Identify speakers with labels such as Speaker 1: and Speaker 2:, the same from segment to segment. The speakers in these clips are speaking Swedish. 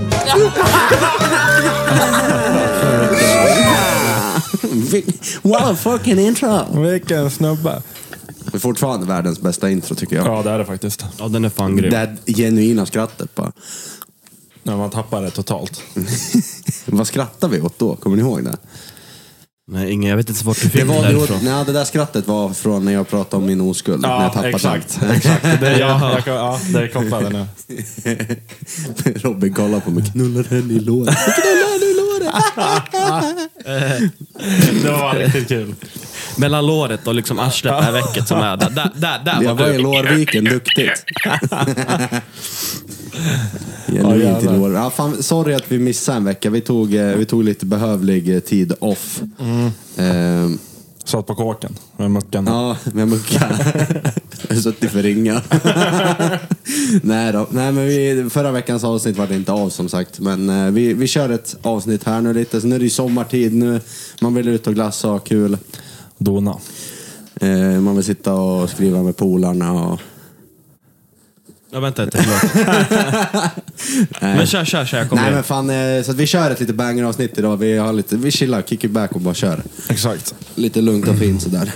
Speaker 1: Wow, fucking intro!
Speaker 2: Vilken snubbe.
Speaker 3: Det är fortfarande världens bästa intro tycker jag.
Speaker 2: Ja, det är det faktiskt.
Speaker 4: Ja, den är fan grym.
Speaker 3: det här genuina skrattet bara.
Speaker 2: När man tappar det totalt.
Speaker 3: Mm. Vad skrattar vi åt då? Kommer ni ihåg det?
Speaker 4: Nej, ingen, jag vet inte vart du fick
Speaker 3: Det,
Speaker 4: det
Speaker 3: var
Speaker 4: därifrån.
Speaker 3: då, nej, det där skrattet var från när jag pratade om min oskuld. när jag
Speaker 2: Ja,
Speaker 3: tappade
Speaker 2: exakt.
Speaker 3: den.
Speaker 2: exakt. Det, är- ja, jag, kan- ja, det är kopplade nu.
Speaker 3: Robin kollar på mig. Knullar henne i låret. Knullar henne i låret.
Speaker 2: Det var riktigt kul.
Speaker 4: Mellan låret och liksom arslet, det här vecket som är där. Där, där, där
Speaker 3: Jag
Speaker 4: var
Speaker 3: var i
Speaker 4: du.
Speaker 3: Lårviken, duktigt.
Speaker 2: Ja,
Speaker 3: Genuint i
Speaker 2: jävlar.
Speaker 3: lår. Ja, fan, sorry att vi missade en vecka. Vi tog, eh, vi tog lite behövlig eh, tid off.
Speaker 2: Mm.
Speaker 3: Ehm,
Speaker 2: Satt på kåken med mucken.
Speaker 3: Ja, med muckar. Jag har suttit för ringa. Nej då. Nej, men vi, förra veckans avsnitt var det inte av som sagt. Men eh, vi, vi kör ett avsnitt här nu lite. Så nu är det ju sommartid nu. Man vill ut och glassa och ha kul.
Speaker 2: Dona.
Speaker 3: Eh, man vill sitta och skriva med polarna och...
Speaker 4: Ja, vänta inte, förlåt. Men kör, kör, kör. Jag kommer
Speaker 3: Nej
Speaker 4: in.
Speaker 3: men fan, eh, så att vi kör ett lite banger-avsnitt idag. Vi, har lite, vi chillar, kick it back och bara kör.
Speaker 2: Exakt.
Speaker 3: Lite lugnt och fint sådär.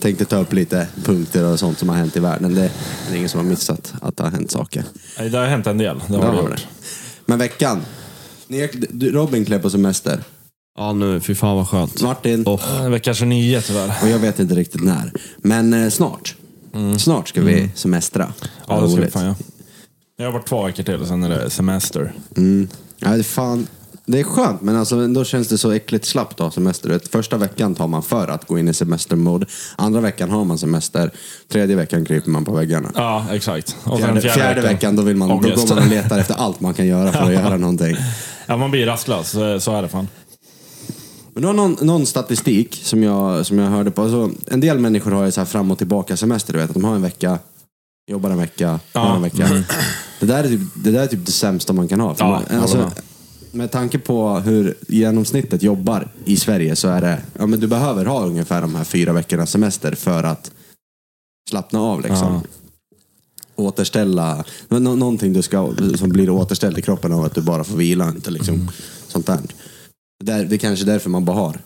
Speaker 3: Tänkte ta upp lite punkter och sånt som har hänt i världen. Det är ingen som har missat att det har hänt saker.
Speaker 2: Nej, Det har hänt en del.
Speaker 3: Ja,
Speaker 2: Det har
Speaker 3: det
Speaker 2: det
Speaker 3: har
Speaker 2: gjort.
Speaker 3: Men veckan. Ni, du, Robin klev på semester.
Speaker 4: Ja, nu. Fy fan vad skönt.
Speaker 3: Martin.
Speaker 4: Åh.
Speaker 2: Eh, Vecka 29 tyvärr.
Speaker 3: Och jag vet inte riktigt när. Men eh, snart. Snart ska vi semestra.
Speaker 2: Mm. Ja, det ska vi
Speaker 3: Roligt.
Speaker 2: fan göra. Jag har varit två veckor till och sen är det semester.
Speaker 3: Mm. Ja, det är fan. Det är skönt, men alltså, ändå känns det så äckligt slappt att ha semester. Du vet, Första veckan tar man för att gå in i semestermode. Andra veckan har man semester. Tredje veckan kryper man på väggarna.
Speaker 2: Ja, exakt. Och sen
Speaker 3: Fjärde, fjärde veckan, då, vill man, då
Speaker 2: Ångest.
Speaker 3: går man och letar efter allt man kan göra för att göra någonting.
Speaker 2: Ja, man blir rastlös. Så- Så är det fan.
Speaker 3: Men det var någon, någon statistik som jag, som jag hörde på. Alltså, en del människor har ju så här fram och tillbaka semester, du vet. Att de har en vecka, jobbar en vecka, har en vecka. Det där, är typ, det där är typ det sämsta man kan ha. För
Speaker 2: Mm. Ja, jag
Speaker 3: man,
Speaker 2: håller
Speaker 3: alltså,
Speaker 2: med.
Speaker 3: med tanke på hur genomsnittet jobbar i Sverige så är det, ja men du behöver ha ungefär de här fyra veckornas semester för att slappna av liksom.
Speaker 2: Ja.
Speaker 3: Återställa, men nå- någonting du ska, som blir återställt i kroppen av att du bara får vila, inte liksom
Speaker 2: Mm.
Speaker 3: sånt där. Det är, det är kanske därför man bara har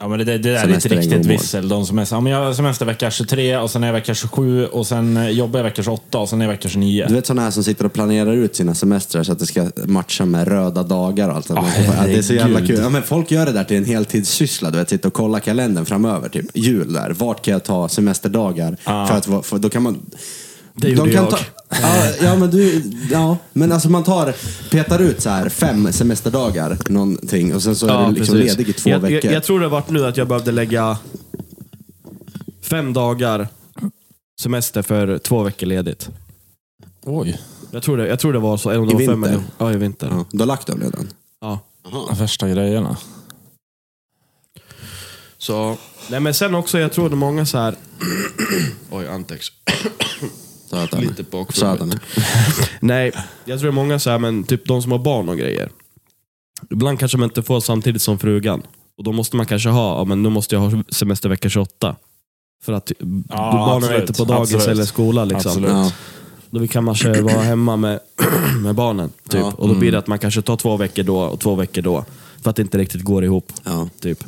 Speaker 2: Ja, men det, det där är
Speaker 3: Semester
Speaker 2: inte
Speaker 3: en gång
Speaker 2: riktigt
Speaker 3: om året.
Speaker 2: vissel. De som är, så- ja, men jag har semester vecka 23 och sen är jag vecka 27 och sen eh, jobbar jag vecka 28 och sen är jag vecka 29.
Speaker 3: Du vet sådana här som sitter och planerar ut sina semestrar så att det ska matcha med röda dagar och allt. sånt. Man
Speaker 4: Ah,
Speaker 3: får- ja, det är så jävla kul.
Speaker 2: herregud.
Speaker 3: Ja, men folk gör det där till en heltidssyssla. Du vet, sitta och kolla kalendern framöver. Typ jul där. Vart kan jag ta semesterdagar? För att, vara- för då kan man...
Speaker 4: Ah. Det gjorde jag.
Speaker 3: Ta, ja, ja, men du... Ja, men alltså man tar... Petar ut så här fem semesterdagar, någonting. Och sen så är
Speaker 4: Ja,
Speaker 3: du liksom
Speaker 4: precis.
Speaker 3: ledig i två
Speaker 4: jag,
Speaker 3: veckor.
Speaker 4: Jag, jag tror det varit nu att jag behövde lägga fem dagar semester för två veckor ledigt.
Speaker 2: Oj.
Speaker 4: Jag tror det, jag tror det var så. Eller om det
Speaker 3: I
Speaker 4: var fem
Speaker 3: vinter?
Speaker 4: eller, ja, i vinter. Ja.
Speaker 3: ja, du har lagt dem redan?
Speaker 2: De värsta grejerna.
Speaker 4: Så, nej, men sen också, jag tror det är många så här... Oj, antex.
Speaker 3: Sa jag att de är.
Speaker 4: Lite bakfull.
Speaker 3: Sa jag att de är.
Speaker 4: Nej, jag tror det är många så här, men typ de som har barn och grejer. Ibland kanske man inte får samtidigt som frugan. Och då måste man kanske ha, ja, men nu måste jag ha semester vecka 28. För att ja, barnen är
Speaker 2: absolut.
Speaker 4: inte på dagis
Speaker 2: Absolut.
Speaker 4: eller skola. Liksom.
Speaker 2: Absolut.
Speaker 3: Ja.
Speaker 4: Då kan man kanske vara hemma med, med barnen. Typ.
Speaker 3: Ja.
Speaker 4: Och då blir det att man kanske tar två veckor då och två veckor då. För att det inte riktigt går ihop.
Speaker 3: Ja.
Speaker 4: Typ.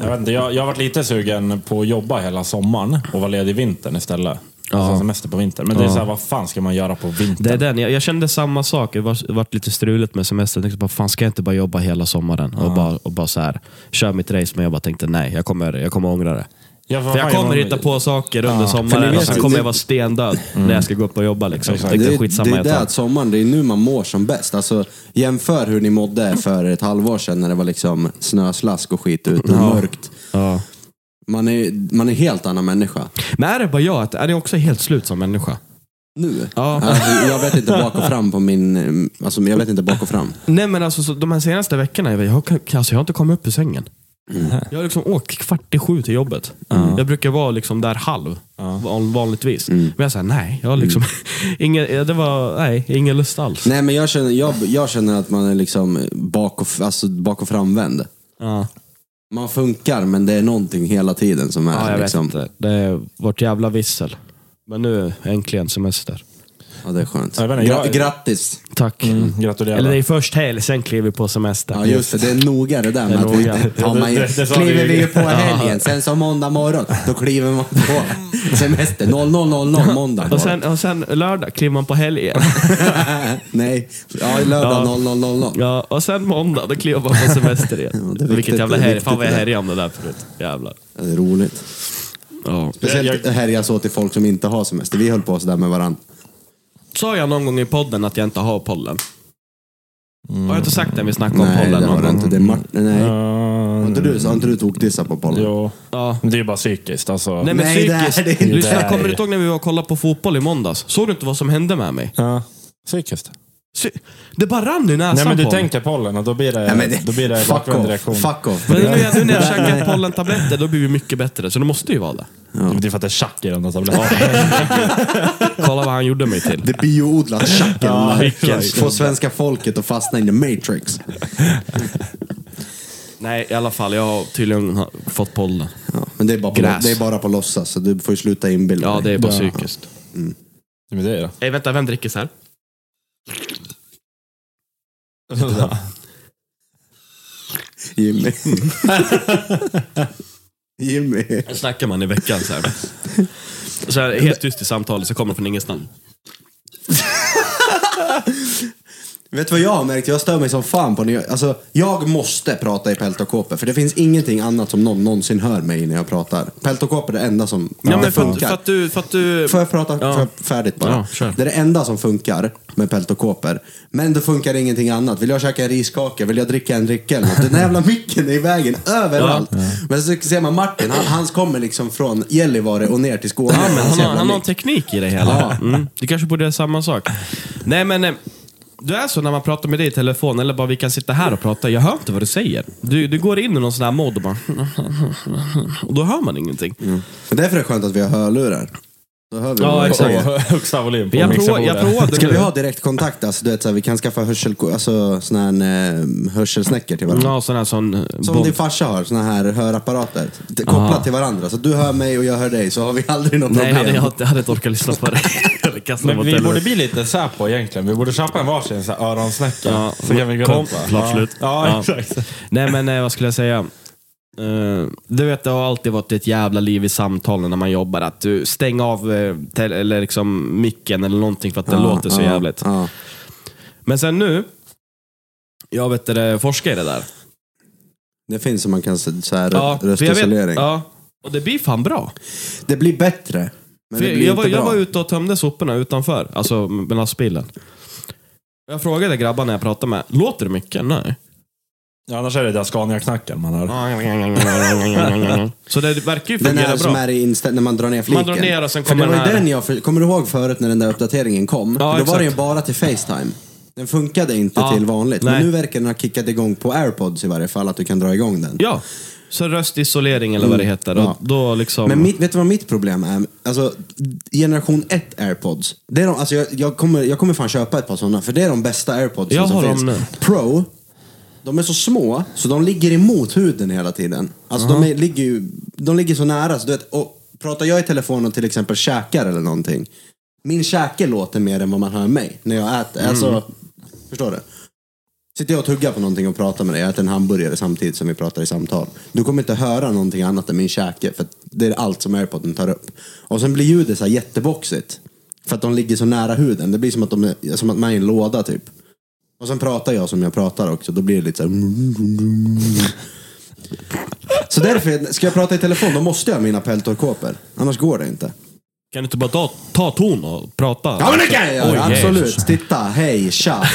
Speaker 2: Jag, vet inte, jag, jag har varit lite sugen på att jobba hela sommaren och vara ledig vintern istället.
Speaker 4: Ja.
Speaker 2: Alltså semester på vintern. Men det är
Speaker 4: Ja.
Speaker 2: så här, vad fan ska man göra på vintern?
Speaker 4: Det är den. Jag, jag kände samma sak. Det var, vart lite struligt med semestern. Jag tänkte bara, fan ska jag inte bara jobba hela sommaren? Och bara, och bara så här, köra mitt race. Men jag bara tänkte, nej, jag kommer, jag kommer ångra det.
Speaker 2: Ja,
Speaker 4: För jag
Speaker 2: fan,
Speaker 4: kommer hitta på saker under
Speaker 3: För ni
Speaker 4: sommaren och
Speaker 3: vet
Speaker 4: sen
Speaker 3: ju- Mm.
Speaker 4: kommer jag vara stendöd när jag ska gå upp och jobba. Liksom. Jag
Speaker 3: Det,
Speaker 4: Tänkte,
Speaker 3: är-
Speaker 4: skitsamma,
Speaker 3: det är
Speaker 4: jag
Speaker 3: det
Speaker 4: tar.
Speaker 3: att sommaren, det är nu man mår som bäst. Alltså, jämför hur ni mådde för ett halvår sedan när det var liksom snöslask och skit ute och mörkt.
Speaker 4: Ja.
Speaker 3: Man är, man är helt annan människa
Speaker 4: Men är det bara jag? att- Är det också helt slut som människa?
Speaker 3: nu.
Speaker 4: Ja.
Speaker 3: Alltså, jag vet inte bak och fram på min... eh, Alltså, jag vet inte bak och fram.
Speaker 4: Nej men alltså så, de här senaste veckorna, jag, jag, kan- alltså, jag har inte kommit upp ur sängen.
Speaker 3: Mm.
Speaker 4: Jag har liksom åkt kvart i sju till jobbet. Jag brukar vara liksom där halv, van, vanligtvis.
Speaker 3: Mm.
Speaker 4: Men jag säger nej, jag har liksom ingen, det var, nej, ingen lust alls.
Speaker 3: Nej, men jag känner, jag, jag känner att man är liksom bak och, f- alltså, bak och framvänd.
Speaker 4: Ja,
Speaker 3: Man funkar, men det är någonting hela tiden som är
Speaker 4: ja jag
Speaker 3: liksom...
Speaker 4: vet inte. Det har varit jävla vissel. Men nu äntligen semester.
Speaker 3: Ja, det är skönt.
Speaker 2: Ja, jag vet inte,
Speaker 3: Gra-
Speaker 2: jag-
Speaker 3: Grattis!
Speaker 4: Tack.
Speaker 2: Gratulerar.
Speaker 4: Eller det är först helg, sen kliver vi på semester.
Speaker 3: Ja, just det. Det är noga det där med
Speaker 4: Det är
Speaker 3: att vi
Speaker 4: noga.
Speaker 3: inte tar
Speaker 2: Det-
Speaker 3: man ju,
Speaker 2: det- det sa
Speaker 3: kliver
Speaker 2: vi.
Speaker 3: vi ju på helgen. Sen så måndag morgon, då kliver man på semester. 00.00 måndag.
Speaker 4: Och sen, och sen lördag kliver man på helg igen.
Speaker 3: Nej, ja, lördag
Speaker 4: Ja.
Speaker 3: 00.00.
Speaker 4: Ja, och sen måndag, då kliver man på semester igen.
Speaker 3: det är viktigt,
Speaker 4: Vilket jävla
Speaker 3: det är
Speaker 4: härj.
Speaker 3: viktigt
Speaker 4: Fan vad jag
Speaker 3: det där.
Speaker 4: härjade om det där förut. Jävlar.
Speaker 3: Ja, Det är roligt.
Speaker 4: Ja.
Speaker 3: Speciellt
Speaker 2: Jag-
Speaker 3: härjas så till folk som inte har semester. Vi höll på sådär med varandra.
Speaker 4: Sa jag någon gång i podden att jag inte har pollen? Har jag inte sagt det när vi snackade om
Speaker 3: Mm. Nej,
Speaker 4: pollen
Speaker 3: det
Speaker 4: någon
Speaker 3: var det
Speaker 4: gång?
Speaker 3: inte. Det är Martin. Nej. Har
Speaker 2: Uh,
Speaker 3: inte du, har inte du tokdissat på pollen?
Speaker 2: jo.
Speaker 4: Ja.
Speaker 2: Det är ju bara psykiskt alltså.
Speaker 4: Nej men
Speaker 3: Nej, det är
Speaker 4: psykiskt.
Speaker 3: det inte.
Speaker 4: Lyssna,
Speaker 2: Nej.
Speaker 4: kommer du inte ihåg när vi var och kollade på fotboll i måndags? Såg du inte vad som hände med mig?
Speaker 2: Ja. Psykiskt.
Speaker 4: Sy- Det bara rann i näsan
Speaker 2: Nej men du
Speaker 4: på mig.
Speaker 2: tänker pollen och då blir det,
Speaker 3: Nej, men det-
Speaker 2: då blir det
Speaker 3: fuck
Speaker 2: bakvänd
Speaker 3: off.
Speaker 2: reaktion.
Speaker 3: Fuck off.
Speaker 4: Men nu, nu när jag käkar pollentabletter, då blir vi mycket bättre. Så det måste ju vara det.
Speaker 2: Det är för att det är tjack i den alltså, där tabletten.
Speaker 4: Kolla vad han gjorde mig till.
Speaker 3: Det bioodlat tjacken.
Speaker 2: Ja,
Speaker 3: där.
Speaker 2: vilken
Speaker 3: Få svenska folket att fastna i the matrix.
Speaker 4: Nej, i alla fall. Jag har tydligen ha- fått pollen.
Speaker 3: Ja, men det är, bara på,
Speaker 4: Gräs.
Speaker 3: det är bara på låtsas, så du får ju sluta inbilla
Speaker 4: Ja, det
Speaker 3: dig.
Speaker 4: är bara
Speaker 2: Ja.
Speaker 4: psykiskt.
Speaker 2: Men det är det.
Speaker 4: Ey, vänta, vem dricker så här?
Speaker 3: Jimmy. Jimmy.
Speaker 4: Det snackar man i veckan så här. Så här helt tyst i samtalet, så kommer det från ingenstans.
Speaker 3: Vet du vad jag har märkt? Jag stör mig som fan på när jag, alltså, jag måste prata i peltokåpor för det finns ingenting annat som någon någonsin hör mig när jag pratar. Peltokåpor är det enda som
Speaker 4: Ja,
Speaker 3: inte
Speaker 4: men för, att-
Speaker 3: funkar.
Speaker 4: för att du... För att du...
Speaker 3: Får jag prata
Speaker 4: Ja.
Speaker 3: får jag färdigt bara?
Speaker 4: Ja, kör.
Speaker 3: det är det enda som funkar med peltokåpor. Men det funkar ingenting annat. Vill jag käka en riskaka? Vill jag dricka en dricka eller något? Den där jävla micken är i vägen överallt. Men så ser man Martin, han, hans kommer liksom från Gällivare och ner till Skåne.
Speaker 4: Ja, men
Speaker 3: Hans
Speaker 4: han, har,
Speaker 3: jävla
Speaker 4: han har en
Speaker 3: mick.
Speaker 4: teknik i det hela. Mm. Du kanske borde göra samma sak. Nej, men eh, du är så när man pratar med dig i telefon, eller bara vi kan sitta här och prata. Jag hör inte vad du säger. Du, du går in i någon sån här mode och bara... Och då hör man ingenting.
Speaker 3: Men därför är det skönt att vi har hörlurar. Då hör vi
Speaker 4: Ja,
Speaker 3: vad vi
Speaker 4: exakt.
Speaker 3: säger.
Speaker 2: Och Högsta volym på
Speaker 4: Jag, prov, jag
Speaker 2: mixerbordet.
Speaker 4: provade
Speaker 3: Ska
Speaker 4: nu.
Speaker 3: vi ha direktkontakt? Alltså, du vet, så här, vi kan skaffa hörsel, alltså, sån här, eh, hörselsnäckor till varandra.
Speaker 4: Ja, sån här sån... eh,
Speaker 3: Som
Speaker 4: bond.
Speaker 3: din farsa har, såna här hörapparater. Det- Kopplat till varandra. Så du hör mig och jag hör dig, så har vi aldrig något
Speaker 4: Nej,
Speaker 3: problem.
Speaker 4: hade jag, jag hade inte orkat lyssna på det. Jag hade kastat
Speaker 2: Men
Speaker 4: bort
Speaker 2: vi
Speaker 4: telefonen.
Speaker 2: borde bli lite Säpo egentligen. Vi borde köpa en varsin så här öronsnäcka.
Speaker 4: Ja,
Speaker 2: så kan vi gå
Speaker 4: kom,
Speaker 2: runt va?
Speaker 4: klart
Speaker 2: ja.
Speaker 4: slut.
Speaker 2: Ja,
Speaker 4: Ja.
Speaker 2: exakt.
Speaker 4: Nej men eh, vad skulle jag säga? Eh, du vet det har alltid varit ett jävla liv i samtalen när man jobbar. Att du stänger av eh, tel- eller liksom micken eller någonting för att det låter så
Speaker 3: ja,
Speaker 4: jävligt.
Speaker 3: Ja.
Speaker 4: Men sen nu, jag vet det, forskar i det där.
Speaker 3: Det finns som man kan se- så här,
Speaker 4: Ja, för jag
Speaker 3: röstisolering.
Speaker 4: vet, ja, och det blir fan bra.
Speaker 3: Det blir bättre. Men
Speaker 4: För
Speaker 3: det blir
Speaker 4: jag, var,
Speaker 3: inte
Speaker 4: jag
Speaker 3: bra.
Speaker 4: var ute och tömde soporna utanför, alltså med lastbilen. Jag frågade grabbarna jag pratade med, låter det mycket? Nej.
Speaker 2: Ja, annars är det där Scania-knacken man hör.
Speaker 4: Så det verkar ju
Speaker 3: den
Speaker 4: fungera
Speaker 3: här som
Speaker 4: bra.
Speaker 3: är i inställ- när man drar ner fliken.
Speaker 4: Man drar ner och sen
Speaker 3: För
Speaker 4: kommer
Speaker 3: det var
Speaker 4: den
Speaker 3: ju
Speaker 4: här-
Speaker 3: den jag, för- kommer du ihåg förut när den där uppdateringen kom?
Speaker 4: Ja,
Speaker 3: Då
Speaker 4: exakt.
Speaker 3: var den ju bara till Facetime. Den funkade inte
Speaker 4: Ja,
Speaker 3: till vanligt.
Speaker 4: nej.
Speaker 3: Men nu verkar den ha kickat igång på airpods i varje fall, att du kan dra igång den.
Speaker 4: Ja, så röstisolering eller vad det heter. Och
Speaker 3: Mm. Ja.
Speaker 4: då liksom...
Speaker 3: Men mitt, vet du vad mitt problem är? Alltså, generation 1 airpods. Det är de, alltså, jag, jag, kommer, jag kommer fan köpa ett par sådana, för det är de bästa airpods
Speaker 4: Jag
Speaker 3: som
Speaker 4: har dem
Speaker 3: finns.
Speaker 4: nu.
Speaker 3: Pro, de är så små, så de ligger emot huden hela tiden. Alltså, de, är, ligger ju, de ligger så nära, så du vet, och pratar jag i telefon och till exempel käkar eller någonting, min käke låter mer än vad man hör mig när jag äter.
Speaker 4: Mm.
Speaker 3: Alltså, förstår du? Sitter jag och tuggar på någonting och pratar med dig, jag äter en hamburgare samtidigt som vi pratar i samtal. Du kommer inte höra någonting annat än min käke, för att det är allt som airpodden tar upp. Och sen blir ljudet så här jätteboxigt, för att de ligger så nära huden. Det blir som att, de är, som att man är i en låda typ. Och sen pratar jag som jag pratar också, då blir det lite så här... mm, Så därför, ska jag prata i telefon då måste jag ha mina peltorkåpor. Annars går det inte.
Speaker 4: Kan du inte bara ta, ta ton och prata?
Speaker 3: Ja men det kan jag göra!
Speaker 4: Oj,
Speaker 3: absolut!
Speaker 4: Jesus.
Speaker 3: Titta, hej, tja!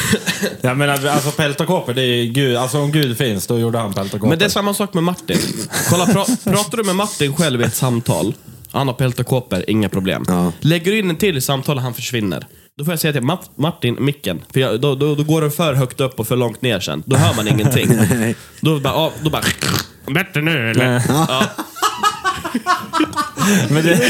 Speaker 2: Ja, men alltså peltokåpor, det är ju Gud. Alltså om Gud finns, då gjorde han peltokåpor.
Speaker 4: Men det är samma sak med Martin. Kolla, pra, pratar du med Martin själv i ett samtal, han har pält och kåpor, inga problem.
Speaker 3: Ja.
Speaker 4: Lägger du in en till i samtalet, han försvinner. Då får jag säga till Mat- Martin, micken. För jag, då, då, då går den för högt upp och för långt ner sen. Då hör man ingenting. då bara... ja, Då bara Bättre nu eller?
Speaker 2: Men det,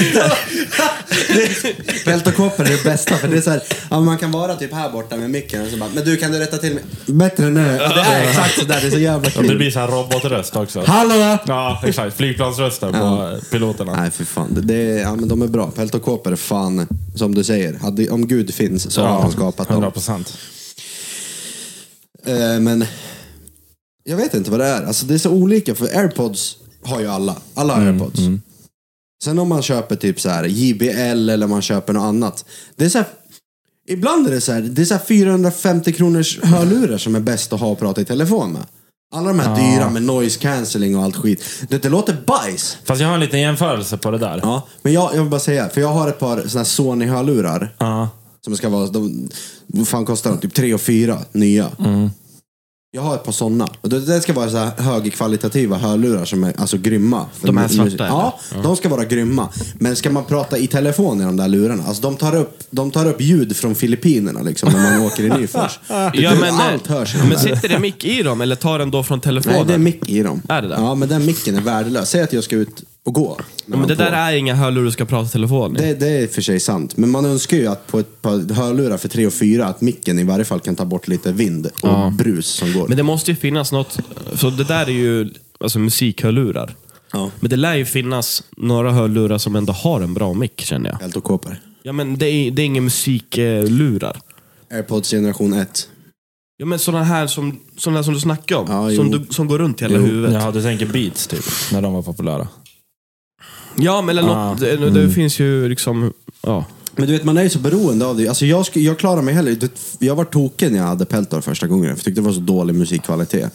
Speaker 3: Peltokåpor är det bästa för det är så här, ja, man kan vara typ här borta med micken och så bara, men du kan du rätta till mig? Bättre nu. Ja, det är exakt sådär, det är så jävla
Speaker 2: Och det
Speaker 3: kul.
Speaker 2: blir så här robotröst också.
Speaker 3: Hallå!
Speaker 2: Ja, exakt. Flygplansrösten på
Speaker 3: Ja.
Speaker 2: piloterna.
Speaker 3: Nej för fan, det, det, ja, men de är bra. Peltokåpor är fan, som du säger, hade, om Gud finns så har han skapat dem.
Speaker 2: 100 procent.
Speaker 3: Eh, men jag vet inte vad det är. Alltså, det är så olika, för airpods har ju alla. Alla har airpods. Sen om man köper typ så här JBL eller man köper något annat. Det är så här, ibland är det så här, det är så här 450 kronors hörlurar som är bäst att ha och prata i telefon med. Alla de här dyra med noise cancelling och allt skit. Det, det låter bajs.
Speaker 2: Fast jag har en liten jämförelse på det där.
Speaker 3: Ja, men jag, jag vill bara säga, för jag har ett par såna här Sony-hörlurar.
Speaker 2: Ja.
Speaker 3: Som ska vara, de, vad fan kostar de? Typ 3 och 4 nya.
Speaker 4: Mm.
Speaker 3: Jag har ett par sådana. Och det, det ska vara så här högkvalitativa hörlurar som är alltså grymma. För
Speaker 4: De här
Speaker 3: mu-
Speaker 4: svarta,
Speaker 3: mus- Ja, de ska vara grymma. Men ska man prata i telefon i de där lurarna, alltså de tar upp, de tar upp ljud från Filippinerna liksom när man åker i Nyfors.
Speaker 4: Ja, men, eh,
Speaker 3: Allt hörs i de
Speaker 4: men
Speaker 3: där.
Speaker 4: sitter det mick i dem eller tar den då från telefonen?
Speaker 3: Nej, det är mick i dem.
Speaker 4: Är det det?
Speaker 3: Ja, men den micken är värdelös. Säg att jag ska ut och gå.
Speaker 4: Ja, men det där är inga hörlurar du ska prata i telefon i.
Speaker 3: Det, det är för sig sant, men man önskar ju att på ett par hörlurar för tre och fyra att micken i varje fall kan ta bort lite vind och brus som går.
Speaker 4: Men det måste ju finnas något. Så det där är ju alltså, musikhörlurar.
Speaker 3: Ja.
Speaker 4: Men det lär ju finnas några hörlurar som ändå har en bra mick känner jag.
Speaker 3: Helt och kåpor.
Speaker 4: Ja, men det är, det är inga musiklurar.
Speaker 3: Airpods generation 1.
Speaker 4: Ja, men sådana här som, sådana här som du snackar om.
Speaker 3: Ja,
Speaker 4: som,
Speaker 3: jo.
Speaker 4: du, som går runt hela
Speaker 3: Jo.
Speaker 4: huvudet. Ja,
Speaker 2: Ja, du tänker beats typ, när de var populära.
Speaker 4: men eller
Speaker 2: Ah,
Speaker 4: något, det, det finns ju liksom... Ja.
Speaker 3: Men du vet, man är ju så beroende av det. Alltså jag, sk- jag klarar mig heller det- Jag var token när jag hade Peltor första gången, för jag tyckte det var så dålig musikkvalitet.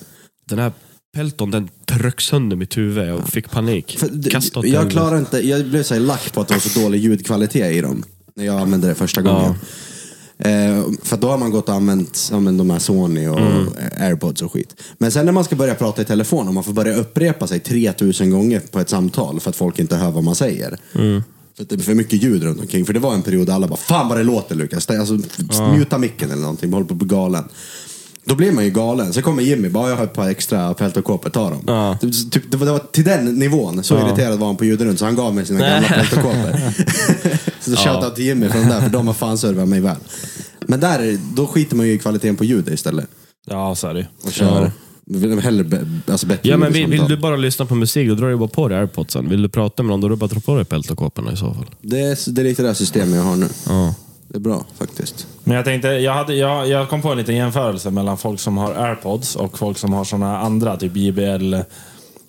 Speaker 4: Den här Pelton, den tryck sönder mitt huvud. Jag fick panik.
Speaker 3: För det-
Speaker 4: Kastade åt
Speaker 3: jag
Speaker 4: helvete.
Speaker 3: klarar inte, jag blev så här lack på att det var så dålig ljudkvalitet i dem. När jag använde det första gången. Eh, för då har man gått och använt, använt de här Sony och
Speaker 4: Mm.
Speaker 3: airpods och skit. Men sen när man ska börja prata i telefon och man får börja upprepa sig 3000 gånger på ett samtal för att folk inte hör vad man säger.
Speaker 4: Mm.
Speaker 3: För att det är för mycket ljud runt omkring. För det var en period där alla bara, fan vad det låter Lukas. Det- Alltså, Muta micken eller någonting, håller på att bli galen. Då blir man ju galen. Så kommer Jimmy, bara jag har ett par extra peltokåpor, ta dem.
Speaker 4: Ja.
Speaker 3: Typ, typ, det, var, det var till den nivån, så irriterad var han på ljuden runt så han gav mig sina gamla peltokåpor. så shoutout till Jimmy från där, för de har fan servat mig väl. Men där, är- då skiter man ju i kvaliteten på ljudet istället.
Speaker 2: Ja, så är det ju.
Speaker 3: Och kör. Ja. Hellre be, alltså bättre
Speaker 4: Ja, men
Speaker 3: ljud i
Speaker 4: vill, vill
Speaker 3: samtal.
Speaker 4: du bara lyssna på musik, då drar du bara på dig airpodsen. Vill du prata med någon, då drar du bara att dra på dig peltokåporna i så fall.
Speaker 3: det, är, det är lite det här systemet jag har nu.
Speaker 4: Ja.
Speaker 3: Det är bra faktiskt.
Speaker 2: Men jag tänkte, jag, hade, jag, jag kom på en liten jämförelse mellan folk som har airpods och folk som har såna andra, typ JBL.